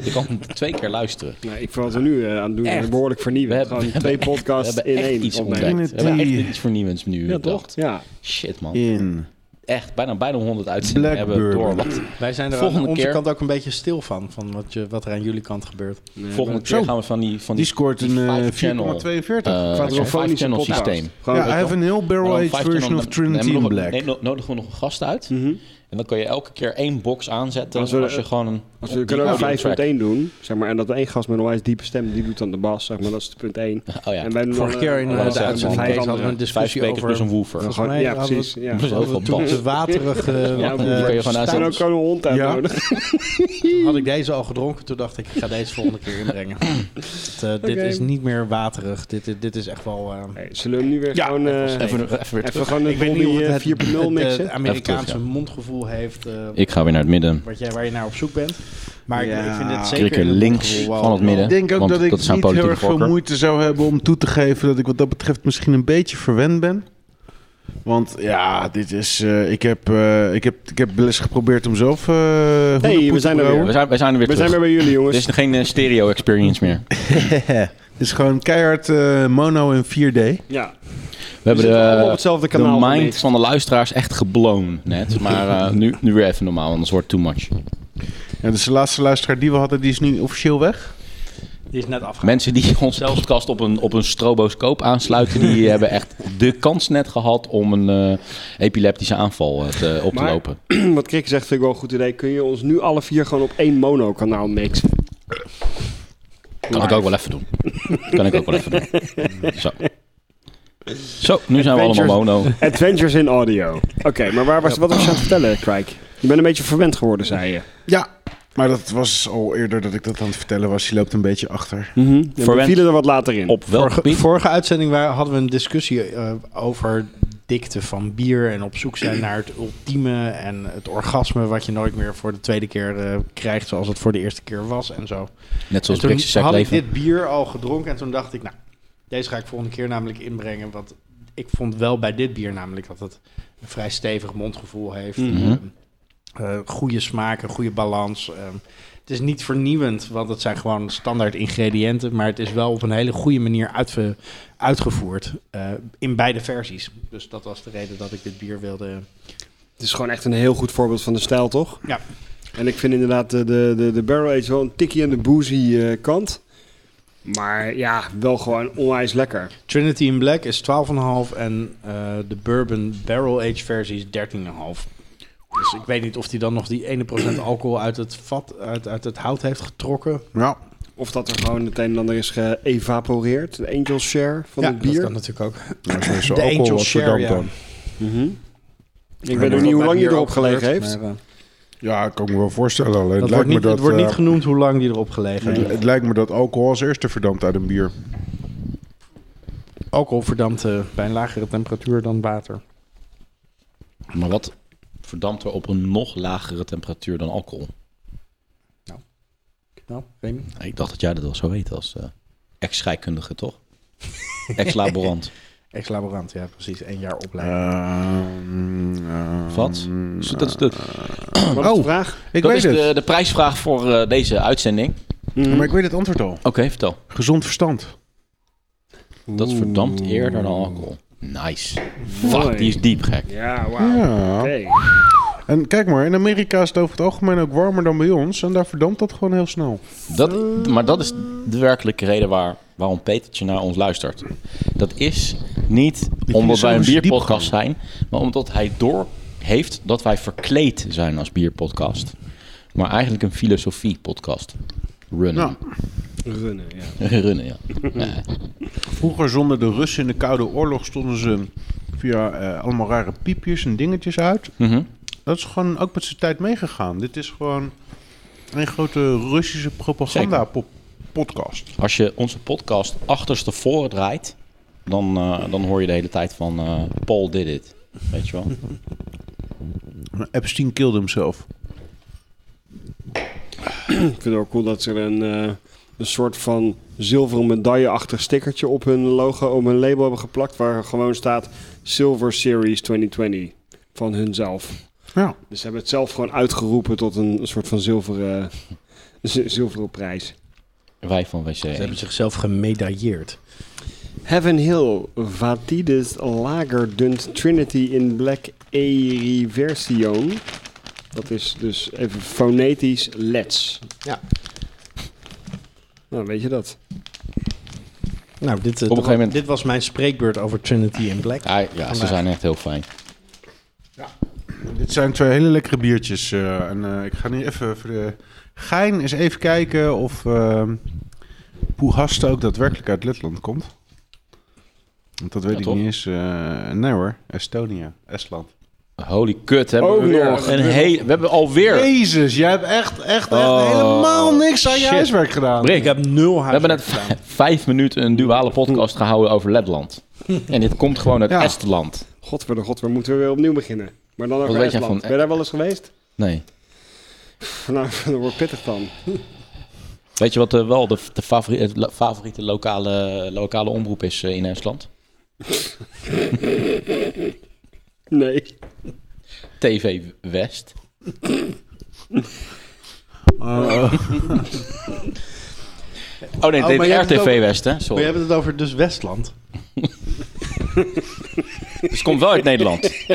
Speaker 1: Je kan twee keer luisteren.
Speaker 2: Nou, ik vind wat we nu eh, aan het doen is
Speaker 1: Echt.
Speaker 2: behoorlijk
Speaker 1: We
Speaker 2: vernieuwen.
Speaker 1: hebben,
Speaker 2: Gewoon
Speaker 1: we
Speaker 2: twee
Speaker 1: hebben echt- we
Speaker 2: podcasts
Speaker 1: hebben
Speaker 2: in
Speaker 1: echt
Speaker 2: één.
Speaker 1: iets
Speaker 2: opnemen.
Speaker 1: ontdekt. We hebben
Speaker 4: Trinity.
Speaker 1: echt iets vernieuwends nu
Speaker 2: Ja, toch?
Speaker 1: bedacht.
Speaker 2: Ja.
Speaker 1: Shit man.
Speaker 4: In.
Speaker 1: Echt, bijna, bijna 100 uitzendingen
Speaker 4: Black
Speaker 1: hebben we door.
Speaker 4: Bourbon.
Speaker 1: Wat-
Speaker 3: Wij zijn er
Speaker 1: Volgende
Speaker 3: aan onze
Speaker 1: keer.
Speaker 3: kant ook een beetje stil van, van wat, je, wat er aan jullie kant gebeurt.
Speaker 1: Volgende keer gaan we van die, van
Speaker 4: Die
Speaker 1: die,
Speaker 4: scoort een eh, 4,42.
Speaker 1: eh,
Speaker 2: Quadrofonische
Speaker 1: five channel
Speaker 2: podcast.
Speaker 1: systeem.
Speaker 2: Gewoon,
Speaker 4: ja, I
Speaker 2: eh,
Speaker 4: have a heel
Speaker 1: Maar dan
Speaker 4: barrel-aged
Speaker 1: vijf
Speaker 4: version
Speaker 1: channel-
Speaker 4: of Trinity
Speaker 1: nemen
Speaker 4: in
Speaker 1: we nog-
Speaker 4: Black. Hm.
Speaker 1: nee, no- nodigen we nog een gast uit.
Speaker 2: mhm.
Speaker 1: En dan kan je elke keer één box aanzetten.
Speaker 2: Als
Speaker 1: Als,
Speaker 2: we-
Speaker 1: je gewoon een.
Speaker 2: Als we kunnen ook
Speaker 1: audio
Speaker 2: vijf
Speaker 1: track.
Speaker 2: punt één doen, zeg maar, en dat één gast met een onwijs diepe stem, die doet dan de bas, zeg maar, dat is de punt één.
Speaker 1: Oh ja.
Speaker 2: En wij doen
Speaker 3: Vorige
Speaker 2: dan,
Speaker 3: keer
Speaker 2: eh,
Speaker 3: in
Speaker 1: eh,
Speaker 2: allemaal
Speaker 1: de
Speaker 2: vijf
Speaker 1: uitzending
Speaker 2: andere-
Speaker 3: Kees hadden we een
Speaker 1: Vijf
Speaker 3: discussie
Speaker 1: sprekers
Speaker 3: over...
Speaker 1: plus een woofer.
Speaker 2: Gewoon-
Speaker 3: Volgens mij
Speaker 2: ja,
Speaker 3: hadden we-
Speaker 2: precies. Ja.
Speaker 1: Dat is
Speaker 2: We
Speaker 1: heel veel
Speaker 3: Over toen
Speaker 1: bas.
Speaker 3: te waterige
Speaker 2: Ja,
Speaker 3: eh,
Speaker 1: gewoon
Speaker 2: kun je
Speaker 3: eh,
Speaker 1: aanzetten.
Speaker 2: zijn
Speaker 3: stout.
Speaker 2: ook gewoon een hond
Speaker 4: Ja.
Speaker 2: uitnodigen.
Speaker 3: Had ik deze al gedronken, toen dacht ik, ik ga deze volgende keer
Speaker 1: [clears throat]
Speaker 3: inbrengen. Het, eh, Dit
Speaker 2: Oké.
Speaker 3: is niet meer waterig. Dit, dit, dit is echt wel... eh,
Speaker 2: Hey, zullen we hem nu weer
Speaker 4: Ja,
Speaker 2: gewoon, eh,
Speaker 1: Even, even weer terug.
Speaker 2: even gewoon een
Speaker 3: ik weet niet of
Speaker 2: Dolby
Speaker 3: het,
Speaker 2: eh,
Speaker 3: het,
Speaker 2: 4.0
Speaker 3: het, eh,
Speaker 2: mixen?
Speaker 3: Amerikaanse
Speaker 1: Even terug,
Speaker 3: mondgevoel heeft... eh,
Speaker 1: Ik ga weer naar het midden.
Speaker 3: wat jij, waar je naar op zoek bent. Maar ik- ik,
Speaker 4: Ja.
Speaker 3: vind dit zeker...
Speaker 1: Krikker
Speaker 3: in het
Speaker 1: links
Speaker 3: mondgevoel wel-
Speaker 1: van het midden.
Speaker 4: Ik denk ook
Speaker 1: want
Speaker 4: dat ik
Speaker 1: dat is zijn
Speaker 4: niet heel erg
Speaker 1: politieke
Speaker 4: veel
Speaker 1: voorkeur.
Speaker 4: moeite zou hebben om toe te geven dat ik wat dat betreft misschien een beetje verwend ben. Want ja, dit is. eh, ik, heb, eh, ik, heb, ik heb wel eens geprobeerd om zelf. eh
Speaker 2: Hey,
Speaker 4: hoedenpoet
Speaker 2: we
Speaker 4: te
Speaker 2: zijn er
Speaker 4: brouwen.
Speaker 1: We zijn, we zijn er weer
Speaker 2: We zijn
Speaker 1: terug.
Speaker 2: weer bij jullie,
Speaker 1: Er
Speaker 2: jongens.
Speaker 1: is geen eh, stereo experience meer. We
Speaker 4: Het is gewoon keihard eh, mono in 4D.
Speaker 2: Ja, we
Speaker 1: hebben
Speaker 2: zitten allemaal op
Speaker 1: de,
Speaker 2: hetzelfde
Speaker 1: de
Speaker 2: kanaal.
Speaker 1: mind
Speaker 2: niks.
Speaker 1: van de luisteraars echt geblown net. Maar eh, nu, nu weer even normaal, anders wordt het too much.
Speaker 4: Ja, dus de laatste luisteraar die we hadden, die is nu officieel weg.
Speaker 3: Die is net afgegaan.
Speaker 1: Mensen [laughs] die ons podcast op een, op een stroboscoop aansluiten, [laughs] die hebben echt de kans net gehad om een eh, epileptische aanval eh, te, op te
Speaker 2: Maar-
Speaker 1: lopen.
Speaker 2: [clears throat] Wat Krik zegt vind ik wel een goed idee. Kun je ons nu alle vier gewoon op één monokanaal mixen?
Speaker 1: Kan ik ook wel even doen. Kan ik ook wel even doen.
Speaker 3: [laughs]
Speaker 1: Zo. Zo, nu zijn we allemaal
Speaker 2: Adventures-
Speaker 1: mono.
Speaker 2: Adventures in audio. Oké, maar waar was, wat was je aan het vertellen, Krijk? Je bent een beetje verwend geworden, zei je.
Speaker 4: Ja, maar dat was al eerder dat ik dat aan het vertellen was. Je loopt een beetje achter.
Speaker 3: Mhm.
Speaker 2: Mm We
Speaker 1: Verwend.
Speaker 2: vielen er wat later in.
Speaker 1: Op welk
Speaker 3: Vorige,
Speaker 1: gebied?
Speaker 3: vorige uitzending waar, hadden we een discussie eh, over dikte van bier en op zoek zijn naar het ultieme en het orgasme wat je nooit meer voor de tweede keer eh, krijgt zoals het voor de eerste keer was en zo.
Speaker 1: Net zoals
Speaker 3: en
Speaker 1: Brixie
Speaker 3: toen
Speaker 1: zegt
Speaker 3: had
Speaker 1: leven.
Speaker 3: ik dit bier al gedronken en toen dacht ik, nou, deze ga ik volgende keer namelijk inbrengen, want ik vond wel bij dit bier namelijk dat het een vrij stevig mondgevoel heeft.
Speaker 1: Mhm.
Speaker 3: Eh, eh, goede smaak, een goede balans. ehm. het is niet vernieuwend, want het zijn gewoon standaard ingrediënten. Maar het is wel op een hele goede manier uitge- uitgevoerd. eh, in beide versies. Dus dat was de reden dat ik dit bier wilde.
Speaker 2: Het is gewoon echt een heel goed voorbeeld van de stijl, toch?
Speaker 3: Ja.
Speaker 2: En ik vind inderdaad de, de, de, de barrel age wel een tikje aan de boozy eh, kant. Maar ja, wel gewoon onwijs lekker.
Speaker 3: Trinity in Black is 12,5 en eh, de Bourbon Barrel Age versie is 13,5. Dus ik weet niet of die dan nog die 1% alcohol uit het, vat, uit, uit het hout heeft getrokken.
Speaker 4: Ja,
Speaker 2: Of dat er gewoon het een en ander is geëvaporeerd. De angel share van
Speaker 3: ja,
Speaker 2: het bier.
Speaker 3: dat kan natuurlijk ook.
Speaker 4: nou, sowieso
Speaker 3: De
Speaker 4: alcohol
Speaker 3: Angel
Speaker 4: wat
Speaker 3: Share,
Speaker 4: verdampt
Speaker 3: ja.
Speaker 4: dan.
Speaker 2: Mhm. Ik weet ook niet hoe lang je erop gelegen heeft.
Speaker 3: Maar, eh,
Speaker 8: Ja, ik kan me wel voorstellen. Alleen
Speaker 3: Dat
Speaker 8: het
Speaker 3: wordt
Speaker 8: lijkt,
Speaker 3: niet,
Speaker 8: me dat,
Speaker 3: het wordt niet
Speaker 8: eh,
Speaker 3: genoemd hoe lang die erop gelegen
Speaker 8: het,
Speaker 3: heeft.
Speaker 8: het lijkt me dat alcohol als eerste verdampt uit een bier.
Speaker 3: Alcohol verdampt eh, bij een lagere temperatuur dan water.
Speaker 1: Maar wat verdampt er op een nog lagere temperatuur dan alcohol?
Speaker 3: Nou, Remy?
Speaker 1: Ik dacht dat jij dat al zo weet als eh, ex-scheikundige,
Speaker 3: [laughs]
Speaker 1: toch? Ex-laborant.
Speaker 3: Ex-laborant, ja precies. Eén jaar opleiding.
Speaker 8: Ehm, ehm,
Speaker 1: Wat? Dus dat is de,
Speaker 2: Wat is de vraag?
Speaker 4: Ik
Speaker 1: dat
Speaker 4: weet
Speaker 1: is de,
Speaker 4: het.
Speaker 1: de prijsvraag voor eh, deze uitzending.
Speaker 4: Maar ik weet het antwoord al.
Speaker 1: Oké, vertel.
Speaker 4: Gezond verstand.
Speaker 1: Dat verdampt eerder dan alcohol. Nice. Fuck, die is diep gek.
Speaker 2: Ja, wauw.
Speaker 4: Ja.
Speaker 2: Oké.
Speaker 4: En kijk maar, in Amerika is het over het algemeen ook warmer dan bij ons. En daar verdampt dat gewoon heel snel.
Speaker 1: Dat, maar dat is de werkelijke reden waar, waarom Petertje naar ons luistert. Dat is niet omdat wij een
Speaker 4: filosofische
Speaker 1: bierpodcast zijn, maar omdat hij door heeft dat wij verkleed zijn als bierpodcast. Maar eigenlijk een filosofie-podcast. Runnen.
Speaker 2: Runnen,
Speaker 1: [laughs]
Speaker 2: ja.
Speaker 1: Runnen, ja. Ja.
Speaker 4: Vroeger zonder de Russen in de Koude Oorlog stonden ze via eh, allemaal rare piepjes en dingetjes uit.
Speaker 1: Mhm.
Speaker 4: Dat is gewoon ook met zijn tijd meegegaan. Dit is gewoon een grote Russische propaganda-podcast.
Speaker 1: Als je onze podcast achterstevoren draait, dan, eh, dan hoor je de hele tijd van eh, Paul did it. Weet je
Speaker 3: [laughs]
Speaker 1: wel?
Speaker 4: Epstein killed himself.
Speaker 2: Ik vind het ook cool dat ze er een, eh, een soort van zilveren medaille-achtig stickertje op hun logo, op hun label hebben geplakt. Waar gewoon staat Silver Series 2020 van hunzelf.
Speaker 4: Ja.
Speaker 2: Dus ze hebben het zelf gewoon uitgeroepen tot een, soort van [laughs] zilveren, z- zilveren prijs.
Speaker 1: Wij van WC.
Speaker 3: Ze hebben zichzelf gemedailleerd.
Speaker 2: Heaven Hill, Vatides Lagerdunt Trinity in Black Eriversion. Dat is dus even fonetisch Let's.
Speaker 3: Ja.
Speaker 2: Nou, weet je dat?
Speaker 3: Nou, dit, eh,
Speaker 1: een gegeven moment-
Speaker 3: dit was mijn spreekbeurt over Trinity in Black.
Speaker 1: Ja, ja, ze zijn echt heel fijn.
Speaker 4: Dit zijn twee hele lekkere biertjes. eh, en eh, ik ga nu even voor de gein eens even kijken of eh, Poehasta ook daadwerkelijk uit Letland komt. Want dat weet
Speaker 1: Ja,
Speaker 4: ik
Speaker 1: toch?
Speaker 4: niet eens. eh, nee hoor, Estonië, Estland.
Speaker 1: Holy kut, hebben
Speaker 3: Oh,
Speaker 2: Ook
Speaker 1: we weer
Speaker 2: nog.
Speaker 1: een hele... We hebben alweer...
Speaker 4: Jezus, jij hebt echt, echt, echt
Speaker 1: Oh,
Speaker 4: helemaal niks aan je
Speaker 1: shit.
Speaker 4: huiswerk gedaan.
Speaker 1: Brik,
Speaker 3: Ik heb nul
Speaker 1: we hebben
Speaker 3: huiswerk
Speaker 1: net [laughs]
Speaker 3: gedaan.
Speaker 1: v- vijf minuten een duale podcast gehouden over Letland. En dit komt gewoon uit
Speaker 4: Ja.
Speaker 1: Estland.
Speaker 2: Godverdomme, godverdomme, moeten we weer opnieuw beginnen. Maar dan over
Speaker 1: weet jij
Speaker 2: Estland.
Speaker 1: van-
Speaker 2: Ben je daar wel eens geweest? [laughs]
Speaker 1: Nee.
Speaker 2: Nou, dat wordt pittig dan.
Speaker 1: Weet je wat eh, wel de, de favori- het lo- favoriete lokale, lokale omroep is eh, in Estland?
Speaker 2: Nee.
Speaker 1: TV West.
Speaker 3: Eh,
Speaker 1: Oh nee,
Speaker 3: Oh, maar
Speaker 1: dit
Speaker 3: jij
Speaker 1: is
Speaker 3: hebt het
Speaker 1: RTV
Speaker 3: ook-
Speaker 1: West, hè?
Speaker 3: Maar
Speaker 1: Sorry.
Speaker 3: je hebt het over dus Westland.
Speaker 1: Dus het komt wel uit [laughs] Nederland.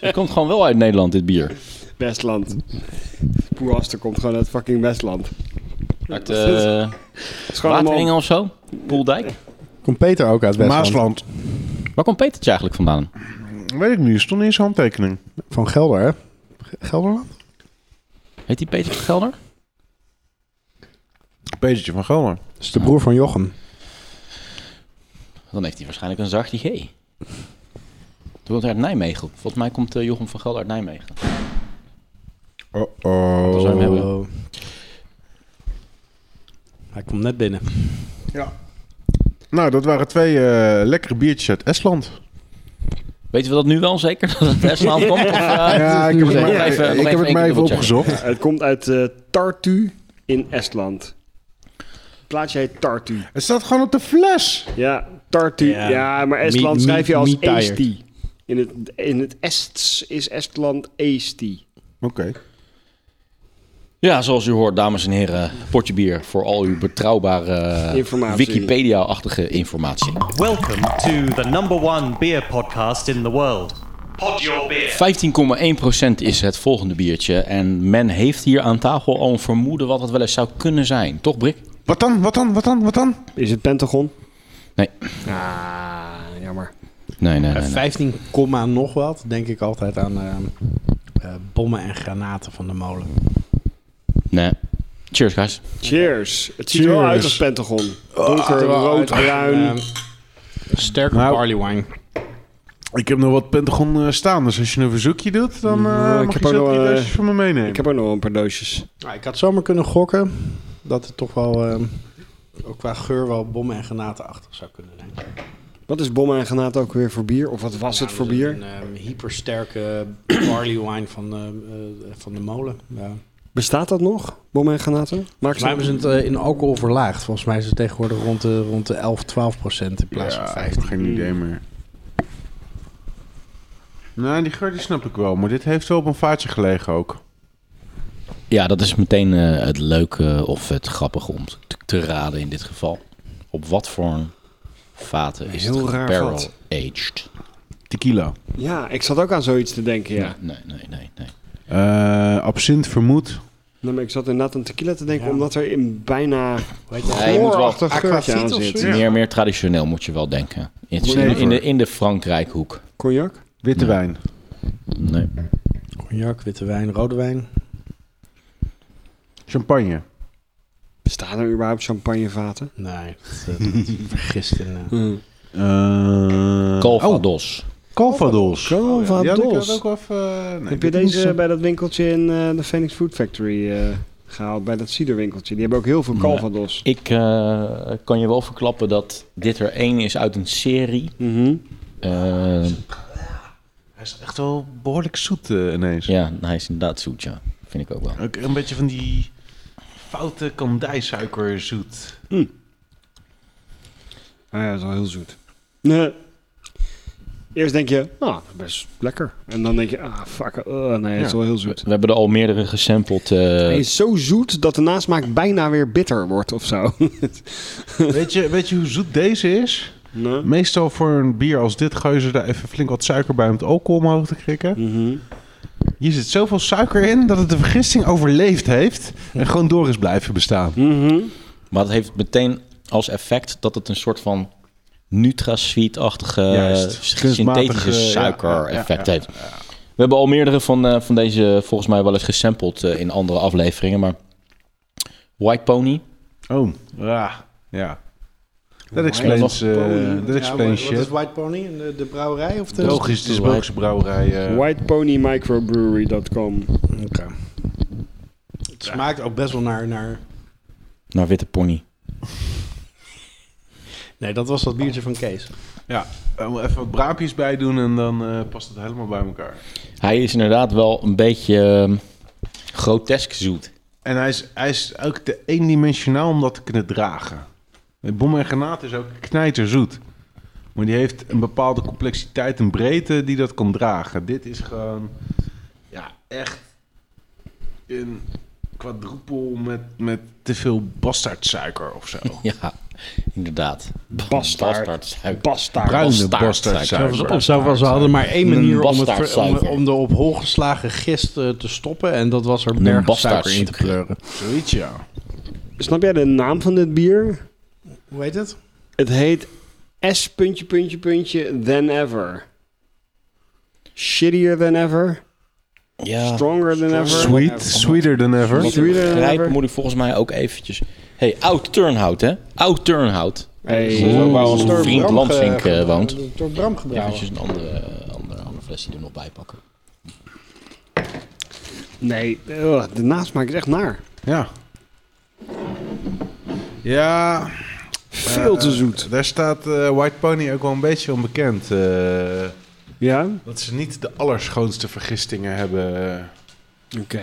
Speaker 1: Het komt gewoon wel uit Nederland, dit bier.
Speaker 2: Westland. Poeraster komt gewoon uit fucking Westland.
Speaker 1: Uit
Speaker 2: is-
Speaker 1: eh
Speaker 2: Het is gewoon
Speaker 1: Wateringen
Speaker 2: allemaal...
Speaker 1: of zo? Poeldijk?
Speaker 7: Komt Peter ook uit Westland?
Speaker 8: Maasland.
Speaker 1: Waar komt Petertje eigenlijk vandaan?
Speaker 4: Weet ik niet, er stond niet eens een handtekening.
Speaker 7: Van Gelder, hè? G- Gelderland?
Speaker 1: Heet die Peter Gelder?
Speaker 4: Petertje van Gelder.
Speaker 7: Dat is de broer van Jochem.
Speaker 1: Dan heeft hij waarschijnlijk een zachte G. Toen komt hij uit Nijmegen. Volgens mij komt eh, Jochem van Gelder uit Nijmegen.
Speaker 8: Uh-oh.
Speaker 1: Dat zou hem hebben.
Speaker 3: Oh. Hij komt net binnen.
Speaker 4: Nou, dat waren twee eh, lekkere biertjes uit Estland.
Speaker 1: Weten we dat nu wel zeker? Dat het uit Estland komt? Of, eh,
Speaker 8: Ja,
Speaker 1: [laughs]
Speaker 8: ik heb het
Speaker 1: Nog
Speaker 8: maar
Speaker 1: even- nog
Speaker 8: ik heb
Speaker 1: even één
Speaker 8: het maar
Speaker 1: keer
Speaker 8: even
Speaker 1: dubbelchecken. [laughs]
Speaker 8: opgezocht.
Speaker 2: Het komt uit eh, Tartu in Estland. Het plaatsje heet Tartu.
Speaker 4: Het staat gewoon op de fles.
Speaker 2: Ja, Tartu.
Speaker 3: Ja.
Speaker 2: Ja, maar Estland
Speaker 3: Mi- mi-
Speaker 2: schrijf je als
Speaker 3: mi tired.
Speaker 2: Eesti. In het, in het Ests is Estland Eesti.
Speaker 4: Oké.
Speaker 1: Ja, zoals u hoort, dames en heren, potje bier voor al uw betrouwbare eh,
Speaker 2: Informatie.
Speaker 1: Wikipedia-achtige informatie.
Speaker 5: Welcome to the number one beer podcast in the world. Pod your beer.
Speaker 1: 15,1% is het volgende biertje. En men heeft hier aan tafel al een vermoeden wat het wel eens zou kunnen zijn. Toch, Brik?
Speaker 4: Wat dan, wat dan, wat dan, wat dan?
Speaker 2: Is het Pentagon?
Speaker 1: Nee.
Speaker 2: Ah, jammer.
Speaker 1: Nee, nee, nee. nee.
Speaker 3: 15, komma nog wat, denk ik altijd aan eh, eh, bommen en granaten van de molen.
Speaker 1: nee. Cheers, guys.
Speaker 2: Cheers. Het ziet er wel
Speaker 8: Cheers.
Speaker 2: uit als Ah, Pentagon. Donker, rood,
Speaker 3: Uit-
Speaker 2: bruin.
Speaker 3: eh, sterke
Speaker 4: Nou.
Speaker 3: barley wine.
Speaker 4: Ik heb nog wat Pentagon eh, staan, dus als je een verzoekje doet, dan eh,
Speaker 2: Nou, ik
Speaker 4: mag
Speaker 2: heb
Speaker 4: je
Speaker 2: ook
Speaker 4: zo
Speaker 2: nog,
Speaker 4: drie
Speaker 2: eh,
Speaker 4: doosjes van me meenemen.
Speaker 2: Ik heb er nog een paar doosjes.
Speaker 7: Nou, ik had zomaar kunnen gokken dat het toch wel, ehm, ook qua geur, wel bommen en granaten achter zou kunnen zijn.
Speaker 2: Wat is bommen en granaat ook weer voor bier? Of wat was
Speaker 3: Nou,
Speaker 2: het voor
Speaker 3: dat is
Speaker 2: bier?
Speaker 3: Een ehm, hypersterke [clears throat] barley wine van, eh, eh, van de molen. Ja.
Speaker 2: Bestaat dat nog? Bommen en granaten? Maak
Speaker 3: Volgens mij hebben ze het eh, in alcohol verlaagd. Volgens mij is het tegenwoordig rond de, rond de 11, 12 procent in plaats
Speaker 4: Ja,
Speaker 3: van
Speaker 4: ik heb
Speaker 3: 15.
Speaker 4: geen idee meer. Nou, die geur die snap ik wel, maar dit heeft wel op een vaartje gelegen ook.
Speaker 1: Ja, dat is meteen eh, het leuke of het grappige om te, te raden in dit geval. Op wat voor vaten is
Speaker 2: Heel
Speaker 1: het
Speaker 2: raar
Speaker 1: barrel
Speaker 2: vat.
Speaker 1: aged?
Speaker 4: Tequila.
Speaker 2: Ja, ik zat ook aan zoiets te denken, ja.
Speaker 1: Nee, nee, nee, nee.
Speaker 4: Eh absint vermoed.
Speaker 2: Nou, maar ik zat inderdaad aan tequila te denken,
Speaker 3: Ja.
Speaker 2: omdat er in bijna
Speaker 3: Hoe heet dat?
Speaker 1: Ja, je moet wel
Speaker 2: goorachtig geurtje aan
Speaker 3: aquavit of
Speaker 2: zit.
Speaker 3: zoiets.
Speaker 1: Meer, meer traditioneel moet je wel denken. In, in, in de, in de Frankrijkhoek.
Speaker 2: Cognac?
Speaker 4: Witte wijn.
Speaker 1: Nee.
Speaker 3: Cognac, witte wijn, rode wijn.
Speaker 4: Champagne.
Speaker 2: Bestaan er überhaupt champagnevaten?
Speaker 3: Nee, dat,
Speaker 4: [laughs]
Speaker 3: eh, dat [laughs] vergist inderdaad.
Speaker 4: Eh
Speaker 1: Calvados.
Speaker 4: Oh, Calvados.
Speaker 3: Oh,
Speaker 2: Calvados.
Speaker 4: Ja, die kan ik ook af, eh, nee,
Speaker 2: Heb je
Speaker 4: dit is,
Speaker 2: deze
Speaker 4: eh,
Speaker 2: bij dat winkeltje in eh, de Phoenix Food Factory eh, gehaald? Bij dat ciderwinkeltje. Die hebben ook heel veel
Speaker 1: Nee.
Speaker 2: calvados.
Speaker 1: Ik eh, kan je wel verklappen dat dit er één is uit een serie.
Speaker 2: Mhm.
Speaker 1: Eh,
Speaker 4: Hij is echt wel behoorlijk zoet eh, ineens.
Speaker 1: ja, hij is inderdaad zoet, ja. Vind ik ook wel.
Speaker 4: Ook een beetje van die foute
Speaker 1: [laughs]
Speaker 4: kandijsuikerzoet.
Speaker 2: Ah ja, dat is wel heel zoet. Nee. Eerst denk je, nou, best lekker. En dan denk je, ah, fuck, eh, nee, dat is
Speaker 4: Ja.
Speaker 2: wel heel
Speaker 1: We,
Speaker 2: zoet.
Speaker 1: we hebben er al meerdere gesampled. eh,
Speaker 2: Hij is zo zoet dat de nasmaak bijna weer bitter wordt of zo. [laughs]
Speaker 4: weet, je, weet je hoe zoet deze is?
Speaker 2: nee.
Speaker 4: Meestal voor een bier als dit gooien ze daar even flink wat suiker bij om het alcohol omhoog te krikken.
Speaker 2: Mhm.
Speaker 4: Hier zit zoveel suiker in dat het de vergisting overleefd heeft en gewoon door is blijven bestaan.
Speaker 2: Mhm.
Speaker 1: Maar het heeft meteen als effect dat het een soort van Nutra-sweet-achtige
Speaker 4: Juist.
Speaker 1: synthetische
Speaker 4: Kunstmatige,
Speaker 1: suiker-effect
Speaker 4: ja, ja,
Speaker 1: heeft. We hebben al meerdere van, eh, van deze volgens mij wel eens gesampled eh, in andere afleveringen, maar White Pony.
Speaker 4: Oh, ja. ja.
Speaker 1: nog
Speaker 4: Dat explains, eh, that explains
Speaker 3: Wat is
Speaker 4: shit.
Speaker 3: White Pony? De, de brouwerij? Of de...
Speaker 4: Belgisch, het is Belgische brouwerij. eh.
Speaker 2: Whiteponymicrobrewery.com.
Speaker 3: Oké. Het smaakt ook best wel naar, naar...
Speaker 1: Naar Witte Pony.
Speaker 3: Nee, dat was dat biertje van Kees.
Speaker 4: Ja, eh, even wat braapjes bij doen en dan eh, past het helemaal bij elkaar.
Speaker 1: Hij is inderdaad wel een beetje ehm, grotesk zoet.
Speaker 4: En hij is, hij is ook te eendimensionaal om dat te kunnen dragen. De bom en granaat is ook knijterzoet. Maar die heeft een bepaalde complexiteit en breedte die dat kan dragen. Dit is gewoon, ja, echt een kwadrupel met, met te veel bastaardsuiker of zo.
Speaker 1: Ja, inderdaad.
Speaker 2: Bastard.
Speaker 1: Bastardsuiker.
Speaker 2: Bastaard.
Speaker 4: Bruine
Speaker 1: Bastaardsuiker.
Speaker 4: bastaardsuiker.
Speaker 3: Of zo, ze hadden maar één
Speaker 1: Een
Speaker 3: manier om, het ver- om,
Speaker 1: bastardsuiker.
Speaker 3: om de op hol geslagen gist eh, te stoppen. En dat was er
Speaker 1: Een
Speaker 3: bergen suiker in te
Speaker 1: bastardsuiker.
Speaker 3: pleuren.
Speaker 4: Zoiets, ja.
Speaker 2: Snap jij de naam van dit bier?
Speaker 3: Hoe heet het?
Speaker 2: Het heet S puntje puntje puntje than ever. Shittier than ever.
Speaker 1: Ja.
Speaker 2: Stronger than ever.
Speaker 4: Sweet, sweeter than ever.
Speaker 1: Wat ik begrijp moet ik volgens mij ook eventjes... hey, oud Turnhout, hè? Oud Turnhout.
Speaker 2: Hey.
Speaker 1: Dat is ook waar onze
Speaker 3: Door
Speaker 1: vriend
Speaker 3: Bram ge-
Speaker 1: Lansink eh, woont.
Speaker 3: Door Bram gebrouwen.
Speaker 1: Eventjes een andere, eh, andere, andere flesje er nog bij pakken.
Speaker 2: Nee, eh, de nasmaak is echt naar.
Speaker 4: Ja. Ja, eh,
Speaker 2: Veel te zoet.
Speaker 4: daar staat eh, White Pony ook wel een beetje onbekend. eh,
Speaker 2: Ja?
Speaker 4: dat ze niet de allerschoonste vergistingen hebben.
Speaker 2: Oké.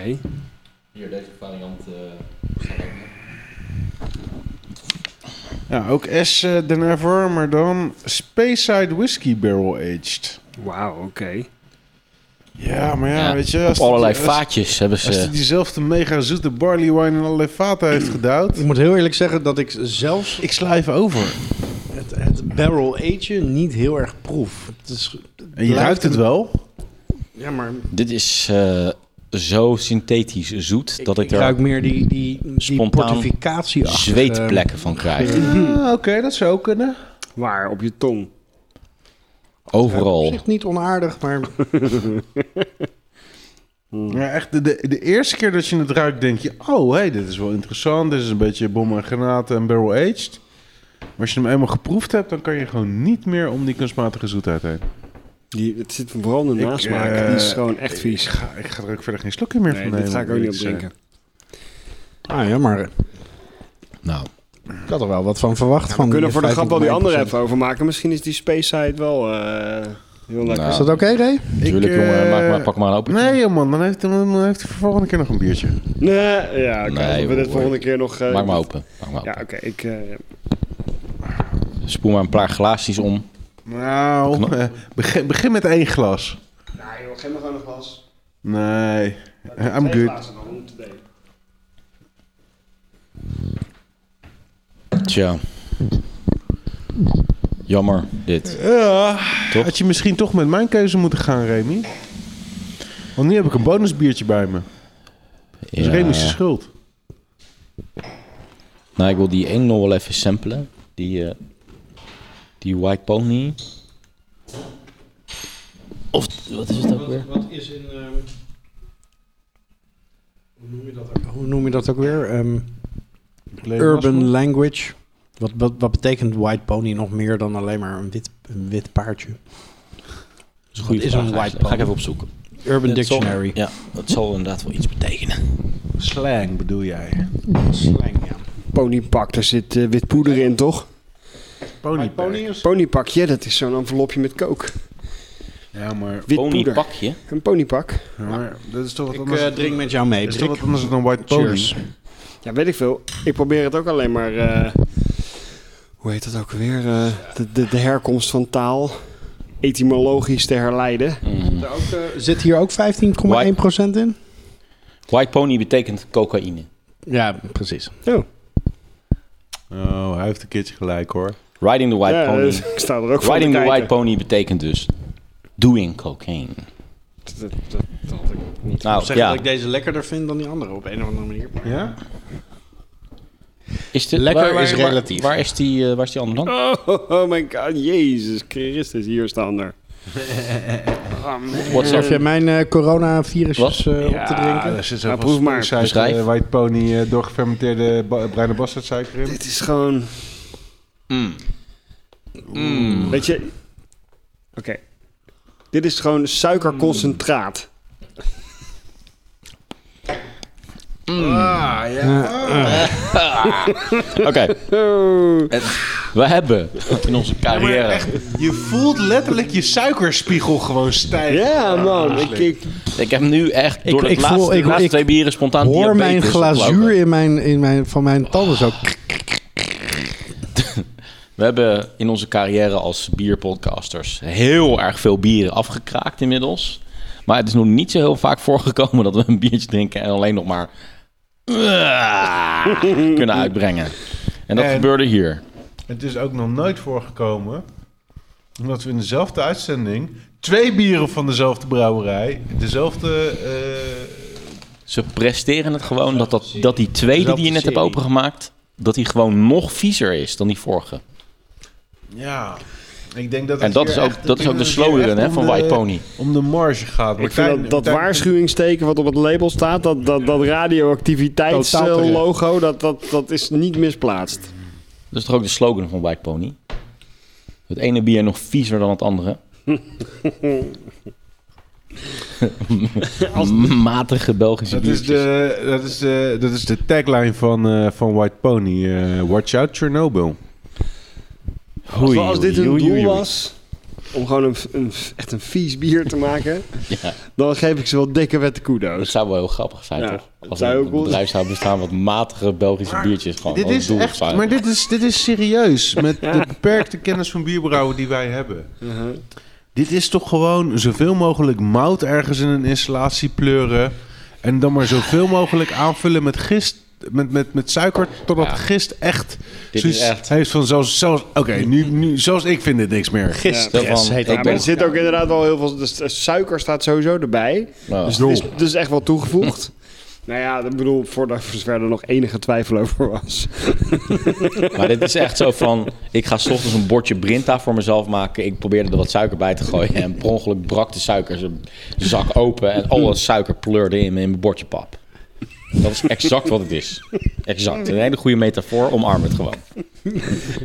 Speaker 1: Hier, deze variant. eh,
Speaker 4: Ja, ook S eh, than ever, maar dan Speyside Whiskey Barrel Aged.
Speaker 2: Wauw, oké.
Speaker 4: Ja, maar ja,
Speaker 1: Ja,
Speaker 4: weet je... Als
Speaker 1: op allerlei
Speaker 4: die- als-
Speaker 1: vaatjes eh. hebben
Speaker 4: Als hij
Speaker 1: ze...
Speaker 4: diezelfde mega zoete barley wine in allerlei vaten heeft gedouwd...
Speaker 3: Ik moet heel eerlijk zeggen dat ik zelfs
Speaker 4: Ik sla even over.
Speaker 3: het, het barrel age niet heel erg proef. Het is, het
Speaker 4: En je
Speaker 3: lijkt
Speaker 4: ruikt het
Speaker 3: een-
Speaker 4: wel.
Speaker 3: Ja, maar
Speaker 1: Dit is eh, zo synthetisch zoet dat ik,
Speaker 3: ik
Speaker 1: er
Speaker 3: ruik meer die, die, die
Speaker 1: Spontaan
Speaker 3: portificatie
Speaker 4: eh,
Speaker 1: zweetplekken van krijg.
Speaker 4: Ah, Oké, dat zou kunnen.
Speaker 2: Waar? Op je tong.
Speaker 1: Overal.
Speaker 3: Echt niet onaardig, maar [laughs]
Speaker 4: Ja, echt, de, de, de eerste keer dat je het ruikt, denk je: oh hé, hey, dit is wel interessant. Dit is een beetje bom en granaten en barrel aged. Maar als je hem eenmaal geproefd hebt, dan kan je gewoon niet meer om die kunstmatige zoetheid heen.
Speaker 2: Die, het zit vooral in de
Speaker 4: Ik,
Speaker 2: nasmaak.
Speaker 4: eh,
Speaker 2: die is gewoon echt
Speaker 4: Ik
Speaker 2: vies.
Speaker 4: ga, ik ga er ook verder geen slokje meer
Speaker 2: Nee,
Speaker 4: van
Speaker 2: dit
Speaker 4: nemen.
Speaker 2: ga ik ook
Speaker 4: eh, om
Speaker 2: niet
Speaker 4: eerlijk te
Speaker 2: opdrinken.
Speaker 3: Ah, jammer.
Speaker 9: Nou,
Speaker 3: Ik had er wel wat van verwacht. van
Speaker 2: We kunnen voor de grap wel die andere
Speaker 3: 15,9%.
Speaker 2: even over maken. Misschien is die Space Side wel eh, heel lekker.
Speaker 1: Nou.
Speaker 3: Is dat oké, Ray?
Speaker 4: zeggen.
Speaker 1: Natuurlijk,
Speaker 4: Ik,
Speaker 1: jongen,
Speaker 4: eh,
Speaker 1: maak maar, pak maar een open.
Speaker 4: Nee, joh, man, dan heeft, dan heeft hij de volgende keer nog een biertje.
Speaker 2: Nee, ja, oké.
Speaker 1: Nee,
Speaker 2: we
Speaker 1: joh,
Speaker 2: dit volgende keer nog... eh,
Speaker 1: Maak maar open. Maak maar
Speaker 2: Ja,
Speaker 1: open.
Speaker 2: oké. ik, eh,
Speaker 1: Spoel maar een paar glaasjes om.
Speaker 4: Nou, eh, begin, begin met één glas.
Speaker 2: nou joh, geef me gewoon een glas.
Speaker 4: Nee, I'm good.
Speaker 1: Tja. Jammer, dit.
Speaker 4: Ja,
Speaker 1: Toch?
Speaker 4: had je misschien toch met mijn keuze moeten gaan, Remy? Want nu heb ik een bonusbiertje bij me. Dat is
Speaker 1: Ja.
Speaker 4: Remy's schuld.
Speaker 1: Nou, ik wil die eng nog wel even samplen. Die, eh, die White Pony. Of wat is het ook weer?
Speaker 3: Wat is in. ehm, hoe, noem je dat ook, hoe noem je dat ook weer? Ehm, urban language. Wat, wat, wat betekent white pony nog meer dan alleen maar een wit, een wit paardje?
Speaker 1: is een goede
Speaker 3: Wat is
Speaker 1: vraag
Speaker 3: een white
Speaker 1: eigenlijk. Ga ik
Speaker 3: pony?
Speaker 1: even opzoeken.
Speaker 3: Urban
Speaker 1: Dat zal-
Speaker 3: dictionary.
Speaker 1: ja, dat zal inderdaad wel iets betekenen.
Speaker 10: Slang bedoel jij?
Speaker 3: Slang, ja.
Speaker 2: Ponypak, daar zit eh, wit poeder in, toch?
Speaker 10: Pony.
Speaker 2: Ponypakje, dat is zo'n envelopje met kook.
Speaker 4: Ja, maar,
Speaker 2: Wit poeder.
Speaker 1: Ponypakje.
Speaker 2: Een ponypak.
Speaker 4: ja, maar dat is toch wat
Speaker 3: Ik
Speaker 4: anders.
Speaker 3: eh, drink met jou mee,
Speaker 4: dat is toch
Speaker 3: Brik.
Speaker 4: wat anders dan een white pony.
Speaker 3: Cheers.
Speaker 2: Ja, weet ik veel. Ik probeer het ook alleen maar... eh, hoe heet dat ook weer? Eh, de, de, de herkomst van taal. Etymologisch te herleiden.
Speaker 1: Mhm.
Speaker 3: Eh, Zit hier ook 15,1% in?
Speaker 1: White Pony betekent cocaïne.
Speaker 3: Ja, precies.
Speaker 2: Oh,
Speaker 4: Oh, hij heeft een keertje gelijk hoor.
Speaker 1: Riding the White
Speaker 2: ja,
Speaker 1: Pony.
Speaker 2: dus [laughs] ik sta er ook voor
Speaker 1: Riding
Speaker 2: te
Speaker 1: the White
Speaker 2: kijken.
Speaker 1: Pony betekent dus doing cocaine.
Speaker 2: Dat, dat, dat had ik niet.
Speaker 1: Nou,
Speaker 3: Zeg
Speaker 1: ja.
Speaker 3: dat ik deze lekkerder vind dan die andere op een of andere manier. maar-
Speaker 4: Ja?
Speaker 1: Is dit,
Speaker 3: Lekker is relatief.
Speaker 1: Waar, is die, eh, waar is die andere dan?
Speaker 2: Oh, [laughs] oh my god, Jezus Christus, hier staan er.
Speaker 1: What's up?
Speaker 3: Durf jij mijn eh, coronavirus
Speaker 1: Wat?
Speaker 3: eh, op te drinken? Nou,
Speaker 4: Ah, daar zit
Speaker 2: Ja,
Speaker 4: zo'n
Speaker 2: Nou, proef maar.
Speaker 1: Beschrijf.
Speaker 4: white pony eh, doorgefermenteerde ba- bruine bastardsuiker in.
Speaker 2: Dit is gewoon.
Speaker 3: Mm.
Speaker 1: Mm.
Speaker 2: Weet je. Oké. Dit is gewoon suikerconcentraat.
Speaker 1: Mm. Oké,
Speaker 3: [laughs]
Speaker 2: Oh.
Speaker 1: we hebben in onze carrière...
Speaker 4: Je voelt letterlijk je suikerspiegel gewoon stijgen.
Speaker 2: Ja, man. Ik, ik,
Speaker 1: Ik heb nu echt
Speaker 3: Ik-
Speaker 1: door de
Speaker 3: ik voel-
Speaker 1: laatste,
Speaker 3: ik-
Speaker 1: laatste
Speaker 3: ik
Speaker 1: twee bieren spontaan
Speaker 3: Hoor
Speaker 1: diabetes.
Speaker 3: mijn glazuur
Speaker 1: oplopen.
Speaker 3: in mijn, in mijn, van mijn tanden zo. krik, krik, krik.
Speaker 1: We hebben in onze carrière als bierpodcasters heel erg veel bieren afgekraakt inmiddels. Maar het is nog niet zo heel vaak voorgekomen dat we een biertje drinken en alleen nog
Speaker 3: [laughs]
Speaker 1: maar kunnen uitbrengen. En dat
Speaker 4: En-
Speaker 1: gebeurde hier.
Speaker 4: Het is ook nog nooit voorgekomen omdat we in dezelfde uitzending twee bieren van dezelfde brouwerij, dezelfde. eh,
Speaker 1: Ze presteren het gewoon dat, dat, dat die tweede die je net hebt
Speaker 4: serie.
Speaker 1: opengemaakt, dat die gewoon nog viezer is dan die vorige.
Speaker 4: ja, ik denk dat.
Speaker 1: En
Speaker 4: het
Speaker 1: dat
Speaker 4: hier
Speaker 1: is ook,
Speaker 4: echt-
Speaker 1: dat is ook de
Speaker 4: het hier echt
Speaker 1: slogan hè,
Speaker 4: om
Speaker 1: van
Speaker 4: de-
Speaker 1: White Pony.
Speaker 4: Om de marge gaat.
Speaker 2: ik vind dat, dat waarschuwingsteken wat op het label staat, dat, dat, dat
Speaker 3: Totaal terecht.
Speaker 2: radioactiviteitslogo, dat, dat, dat is niet misplaatst.
Speaker 1: Dat is toch ook de slogan van White Pony? Het ene bier nog viezer dan het andere. [laughs] Matige Belgische
Speaker 4: Dat is,
Speaker 1: biertjes.
Speaker 4: de, dat, is de, dat is de tagline van, eh, van White Pony. eh, Watch out Chernobyl.
Speaker 2: Als,
Speaker 1: Oei,
Speaker 2: wel als dit
Speaker 1: oei,
Speaker 2: hun
Speaker 1: oei,
Speaker 2: doel
Speaker 1: oei.
Speaker 2: was, om gewoon een, een, echt een vies bier te maken,
Speaker 1: [laughs] Ja,
Speaker 2: dan geef ik ze wel dikke wette
Speaker 1: dat
Speaker 2: kudo's.
Speaker 1: zou wel heel grappig zijn,
Speaker 2: Ja,
Speaker 1: toch?
Speaker 2: dat
Speaker 1: Als
Speaker 2: zou
Speaker 1: er
Speaker 2: ook
Speaker 1: een
Speaker 2: wel-
Speaker 1: bedrijf zou bestaan wat matige Belgische biertjes gewoon
Speaker 4: Dit
Speaker 1: als
Speaker 4: is
Speaker 1: doel
Speaker 4: echt,
Speaker 1: zou
Speaker 4: maar
Speaker 1: hebben.
Speaker 4: dit is, dit is serieus. Met de beperkte kennis van bierbrouwen die wij hebben.
Speaker 1: Uh-huh.
Speaker 4: Dit is toch gewoon zoveel mogelijk mout ergens in een installatie pleuren. En dan maar zoveel mogelijk aanvullen met gist. Met, met, met suiker, totdat
Speaker 1: Ja.
Speaker 4: gist echt
Speaker 1: Dit
Speaker 4: zoiets
Speaker 1: is echt-
Speaker 4: heeft van zelfs... zelfs Oké, nu, nu, zelfs ik vind dit niks meer.
Speaker 2: Gist.
Speaker 1: Zo van,
Speaker 3: heet
Speaker 1: ik
Speaker 2: Ja, maar
Speaker 1: ben-
Speaker 2: er zit ook inderdaad wel heel veel... Dus eh, suiker staat sowieso erbij.
Speaker 1: Nou,
Speaker 2: Dus het is, het is echt wel toegevoegd. [laughs] nou ja, ik bedoel, voordat voor zover er nog enige twijfel over was. [laughs]
Speaker 1: Maar dit is echt zo van, ik ga 's ochtends een bordje Brinta voor mezelf maken. Ik probeerde er wat suiker bij te gooien en per ongeluk brak de suikerzak open en alle suiker pleurde in mijn bordje pap. Dat is exact wat het is. Exact. Een hele goede metafoor, omarm het gewoon.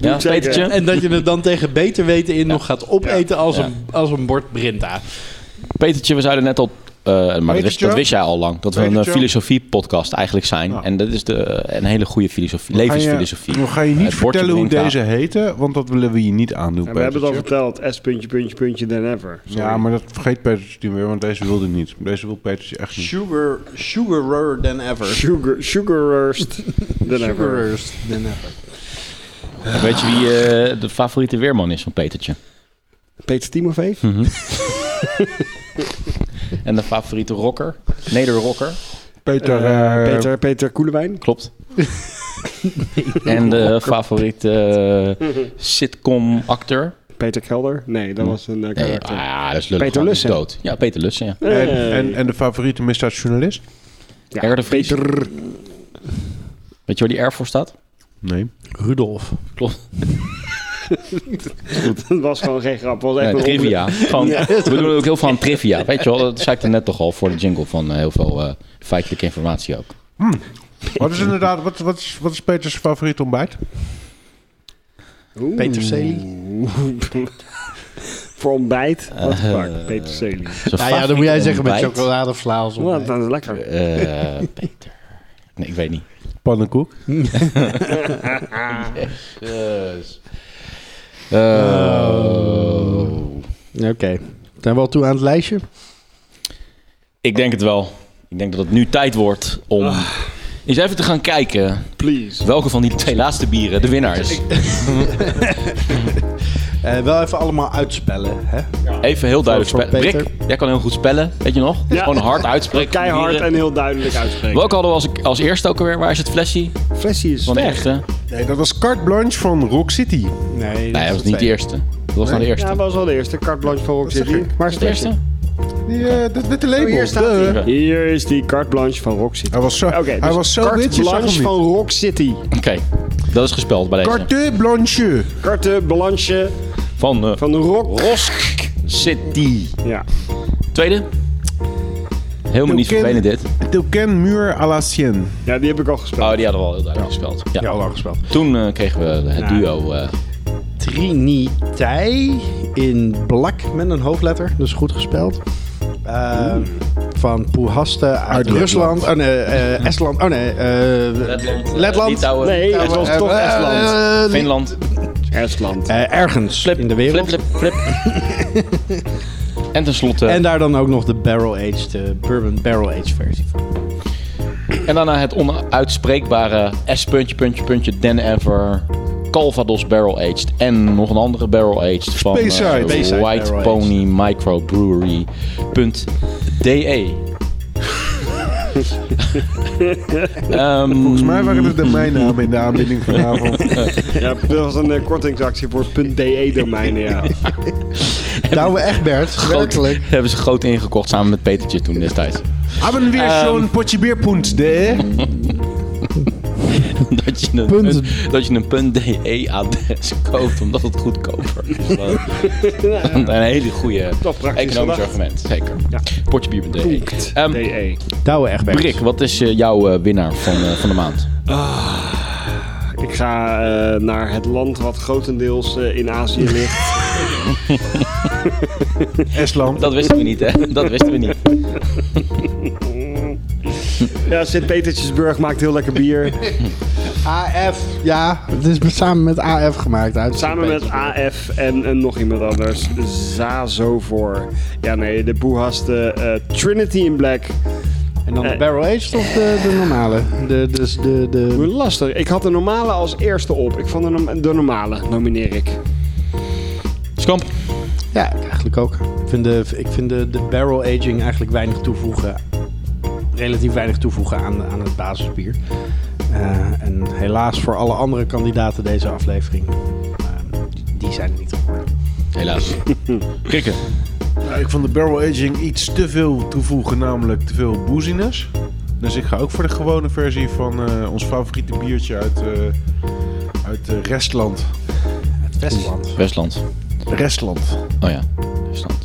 Speaker 1: Ja, Petertje?
Speaker 7: En dat je het dan tegen beter weten in nog gaat opeten als,
Speaker 1: Ja.
Speaker 7: een, als een bord Brinta.
Speaker 1: Petertje, we zeiden net al... eh, maar dat wist,
Speaker 4: Petertje?
Speaker 1: dat wist jij al lang. Dat we een eh,
Speaker 4: Petertje?
Speaker 1: filosofie-podcast eigenlijk zijn. En dat is de, eh, een hele goede filosofie,
Speaker 4: Ga je-
Speaker 1: levensfilosofie.
Speaker 4: We gaan je
Speaker 1: Eh,
Speaker 4: niet
Speaker 1: het bordje
Speaker 4: vertellen hoe
Speaker 1: Brinta.
Speaker 4: deze heten, want dat willen we je niet aandoen.
Speaker 2: we hebben het al
Speaker 4: Petertje.
Speaker 2: verteld. S puntje, puntje, puntje, then ever.
Speaker 4: Ja, maar dat vergeet Petertje niet meer, want deze wilde niet. Deze wil Petertje echt niet.
Speaker 3: Sugar, sugarer than ever.
Speaker 2: Sugar, sugarerst than ever.
Speaker 3: Sugarers than ever.
Speaker 1: Weet je wie eh, de favoriete weerman is van Petertje?
Speaker 2: Peter Timofeef?
Speaker 1: En de favoriete rocker? Nederrocker?
Speaker 4: Peter,
Speaker 2: Eh,
Speaker 4: eh,
Speaker 2: Peter, Peter Koelewijn?
Speaker 1: Klopt. [laughs] en de favoriete eh, sitcom-acteur?
Speaker 2: Peter Kelder? Nee, dat was een eh,
Speaker 1: Nee,
Speaker 2: karakter.
Speaker 1: ah, dat is lullig. gewoon, die
Speaker 2: Peter
Speaker 1: is
Speaker 2: Lussen.
Speaker 1: dood. Ja, Peter Lussen, ja.
Speaker 4: en,
Speaker 2: Hey.
Speaker 4: en, en de favoriete misdaadjournalist?
Speaker 2: Ja,
Speaker 1: Erwin de Vries.
Speaker 2: Peter.
Speaker 1: Weet je waar die R voor staat?
Speaker 4: Nee.
Speaker 7: Rudolf.
Speaker 1: Klopt.
Speaker 2: [laughs] Dat was gewoon geen grap. Dat was echt
Speaker 1: Nee,
Speaker 2: een
Speaker 1: trivia. [laughs]
Speaker 2: ongeluk.
Speaker 1: Gewoon, We doen ook heel veel aan trivia. Weet je wel, dat zei ik er net toch al voor de jingle van eh, heel veel eh, feitelijke informatie ook.
Speaker 4: Wat
Speaker 2: [laughs]
Speaker 4: is inderdaad, wat, wat, is, wat is Peters favoriete ontbijt?
Speaker 7: Peter Celi.
Speaker 3: Hmm.
Speaker 2: Oeh. Voor ontbijt? Wat
Speaker 1: Eh,
Speaker 2: fuck, Peter Celi.
Speaker 1: Zijn
Speaker 7: Nou ja, dan moet jij zeggen met
Speaker 1: favoriete
Speaker 7: chocoladevla of
Speaker 2: Wat, dat is lekker.
Speaker 1: ontbijt? Eh, Peter. Nee, ik weet niet.
Speaker 4: Pannenkoek.
Speaker 7: Oh.
Speaker 1: Eh,
Speaker 3: Oké. Zijn we al toe aan het lijstje?
Speaker 1: Ik denk het wel. Ik denk dat het nu tijd wordt om
Speaker 2: Ah.
Speaker 1: eens even te gaan kijken
Speaker 2: Please.
Speaker 1: welke van die twee laatste bieren de winnaar is.
Speaker 3: Eh, wel even allemaal uitspellen, hè?
Speaker 1: Even heel duidelijk
Speaker 3: Voor-
Speaker 1: spellen.
Speaker 3: voor
Speaker 1: Rick, jij kan heel goed spellen, weet je nog? Dat is
Speaker 2: Ja.
Speaker 1: Gewoon hard uitspreken. van
Speaker 2: Keihard
Speaker 1: bieren.
Speaker 2: en heel duidelijk uitspreken.
Speaker 1: Welke hadden we als, als eerste ook alweer? Waar is het flesje
Speaker 2: Flesje is
Speaker 1: van de
Speaker 2: sterk.
Speaker 1: eerste? Nee,
Speaker 4: Nee, dat was Carte Blanche van Rock City.
Speaker 3: Nee,
Speaker 1: dat was niet de eerste. Dat was nou de eerste.
Speaker 2: Ja, dat was wel de eerste. Carte blanche van Rock City. Maar
Speaker 1: was het de eerste?
Speaker 4: Die, eh, dat witte label.
Speaker 2: Oh, hier staat
Speaker 4: Duh.
Speaker 2: hij. Hier is die carte blanche van Rock City.
Speaker 4: Hij was zo,
Speaker 2: Oké, dus
Speaker 4: hij was zo
Speaker 2: carte
Speaker 4: wit, je zag hem
Speaker 2: blanche
Speaker 4: niet.
Speaker 2: van Rock City.
Speaker 1: Oké, dat is gespeld bij deze.
Speaker 4: Carte Blanche.
Speaker 2: Carte blanche
Speaker 1: Van eh,
Speaker 2: van Rock.
Speaker 1: Rosk City.
Speaker 2: Ja.
Speaker 1: Tweede? Helemaal niet
Speaker 4: Doe Kim.
Speaker 1: vervelend dit.
Speaker 4: Toucan Muur à la Sienne.
Speaker 2: ja, die heb ik al gespeeld.
Speaker 1: Oh, die hadden we al heel duidelijk gespeld. Ja.
Speaker 3: al lang gespeeld.
Speaker 1: Toen eh, kregen we het duo. eh,
Speaker 3: Trinitei in black met een hoofdletter, dus goed gespeld. Eh, van Puhaste uit, Rusland. Oh nee, eh, Estland. Oh nee, eh,
Speaker 1: Letland. eh,
Speaker 3: Letland.
Speaker 1: Litouwen.
Speaker 2: nee, het was toch
Speaker 3: Eh,
Speaker 2: Estland.
Speaker 3: eh,
Speaker 1: Finland.
Speaker 2: Estland.
Speaker 3: eh, ergens in de wereld.
Speaker 1: Flip, flip, flip. [laughs] en tenslotte.
Speaker 3: En
Speaker 1: En,
Speaker 3: daar dan ook nog de barrel-aged, de bourbon barrel-aged versie van.
Speaker 1: daarna het onuitspreekbare S puntje, puntje, puntje, Den Ever. Calvados Barrel Aged. En nog een andere Barrel Aged van eh,
Speaker 4: Speyside.
Speaker 3: Speyside
Speaker 1: White
Speaker 3: Barrel
Speaker 1: Pony Microbrewery.de. [laughs] Ehm
Speaker 4: Volgens mij waren het de
Speaker 1: [laughs]
Speaker 4: mijn namen in de aanbieding vanavond.
Speaker 2: Ja, dat was een eh, kortingsactie voor .de-domeinen, E ja.
Speaker 1: Ehm,
Speaker 3: Douwe Egbert, werkelijk.
Speaker 1: hebben ze groot ingekocht samen met Petertje toen destijds.
Speaker 4: Hebben weer zo'n
Speaker 7: Ehm,
Speaker 4: potje bierpoent, de?
Speaker 1: [laughs] dat je een
Speaker 3: Punt.
Speaker 1: punt- dat je een punt .de adres koopt omdat het goedkoper is. Dat is een hele goede
Speaker 2: Toch praktisch
Speaker 1: economisch
Speaker 2: gedacht.
Speaker 1: argument, zeker.
Speaker 2: Ja. E.
Speaker 1: Potjebier.de.
Speaker 2: Punt.
Speaker 1: Ehm,
Speaker 2: DE.
Speaker 3: Douwe Egbert.
Speaker 1: Brik, wat is eh, jouw eh, winnaar van, eh, van de maand?
Speaker 2: Ik ga eh, naar het land wat grotendeels eh, in Azië [laughs] ligt.
Speaker 4: Estland.
Speaker 1: Dat wisten we niet, hè? [laughs] Dat wisten we niet.
Speaker 2: ja, Sint-Petersburg maakt heel lekker [laughs] bier.
Speaker 3: AF, ja, het is samen met AF gemaakt. Uit
Speaker 2: Samen met AF en, en nog iemand anders. Zazo voor. Ja, nee, de boehaste eh Trinity in Black.
Speaker 3: En dan de
Speaker 2: Eh.
Speaker 3: barrel-aged of de, de normale? De, dus de,
Speaker 2: Hoe
Speaker 3: de...
Speaker 2: lastig. Ik had de normale als eerste op. Ik vond de, norm- de normale, nomineer ik.
Speaker 1: Skamp.
Speaker 3: Ja, eigenlijk ook. Ik vind de, ik vind de, de barrel-aging eigenlijk weinig toevoegen. Relatief weinig toevoegen aan, aan het basisbier. Eh, en helaas voor alle andere kandidaten deze aflevering. eh, die- die zijn er niet geworden.
Speaker 1: Helaas. Krikken.
Speaker 4: Ja, Nou, ik vond de barrel aging iets te veel toevoegen, namelijk te veel booziness. Dus ik ga ook voor de gewone versie van eh, ons favoriete biertje uit, eh, uit eh, Restland.
Speaker 3: Het Westland.
Speaker 1: Westland.
Speaker 4: Restland.
Speaker 1: Oh ja, Rusland.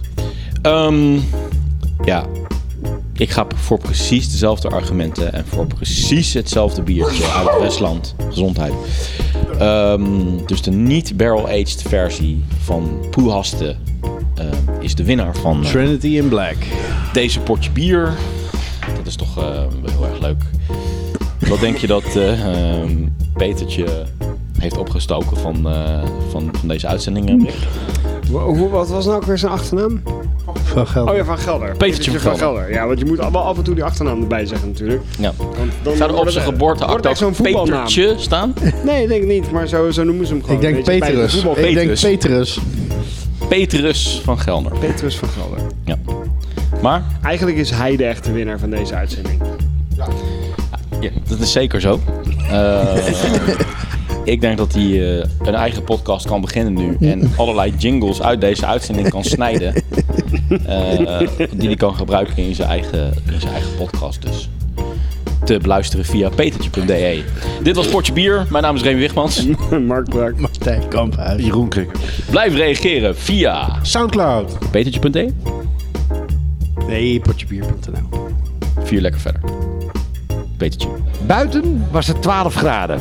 Speaker 1: Ehm, ja, Ik ga voor precies dezelfde argumenten en voor precies hetzelfde biertje uit het Westland. Gezondheid. Ehm, dus de niet-barrel-aged versie van Poehaste eh, is de winnaar van eh,
Speaker 7: Trinity in Black.
Speaker 1: deze potje bier. Dat is toch eh, heel erg leuk. Wat denk je dat eh, ehm, Petertje heeft opgestoken van, eh, van, van deze uitzendingen? Rick?
Speaker 2: Hoe, wat was nou ook weer zijn achternaam?
Speaker 7: Van geld.
Speaker 2: Oh ja, Van Gelder.
Speaker 1: Petertje van
Speaker 2: Gelder. Ja, want je moet allemaal af en toe die achternaam erbij zeggen natuurlijk.
Speaker 1: Ja.
Speaker 2: Want
Speaker 1: Zou
Speaker 2: dan
Speaker 1: er op
Speaker 2: wordt
Speaker 1: zijn
Speaker 2: het- wordt
Speaker 1: geboorteakt
Speaker 2: het echt
Speaker 1: ook
Speaker 2: zo'n voetbalnaam.
Speaker 1: Petertje staan?
Speaker 2: Nee, ik denk niet. Maar zo, zo noemen ze hem gewoon.
Speaker 7: Ik denk
Speaker 2: Weet je, bij de
Speaker 7: Petrus.
Speaker 2: voetbal-
Speaker 7: Ik denk
Speaker 1: Petrus.
Speaker 7: Petrus.
Speaker 1: Petrus van Gelder.
Speaker 2: Petrus van Gelder.
Speaker 1: Ja. Maar
Speaker 2: Eigenlijk is hij de echte winnaar van deze uitzending. [laughs]
Speaker 1: Ja, dat is zeker zo. Eh, [laughs] ik denk dat hij eh, een eigen podcast kan beginnen nu. En allerlei jingles uit deze uitzending kan
Speaker 2: [laughs]
Speaker 1: snijden. eh, die hij kan gebruiken in zijn, eigen, in zijn eigen podcast. Dus te beluisteren via petertje.de. Dit was Portje Bier. Mijn naam is Remy Wichmans.
Speaker 2: Mark Braak.
Speaker 7: Martijn Kamphuis.
Speaker 8: Jeroen Krikker.
Speaker 1: Blijf reageren via
Speaker 8: Soundcloud.
Speaker 1: petertje.de.
Speaker 7: Nee, potjebier.nl.
Speaker 1: Vier lekker verder. Petertje.
Speaker 11: Buiten was het 12 graden.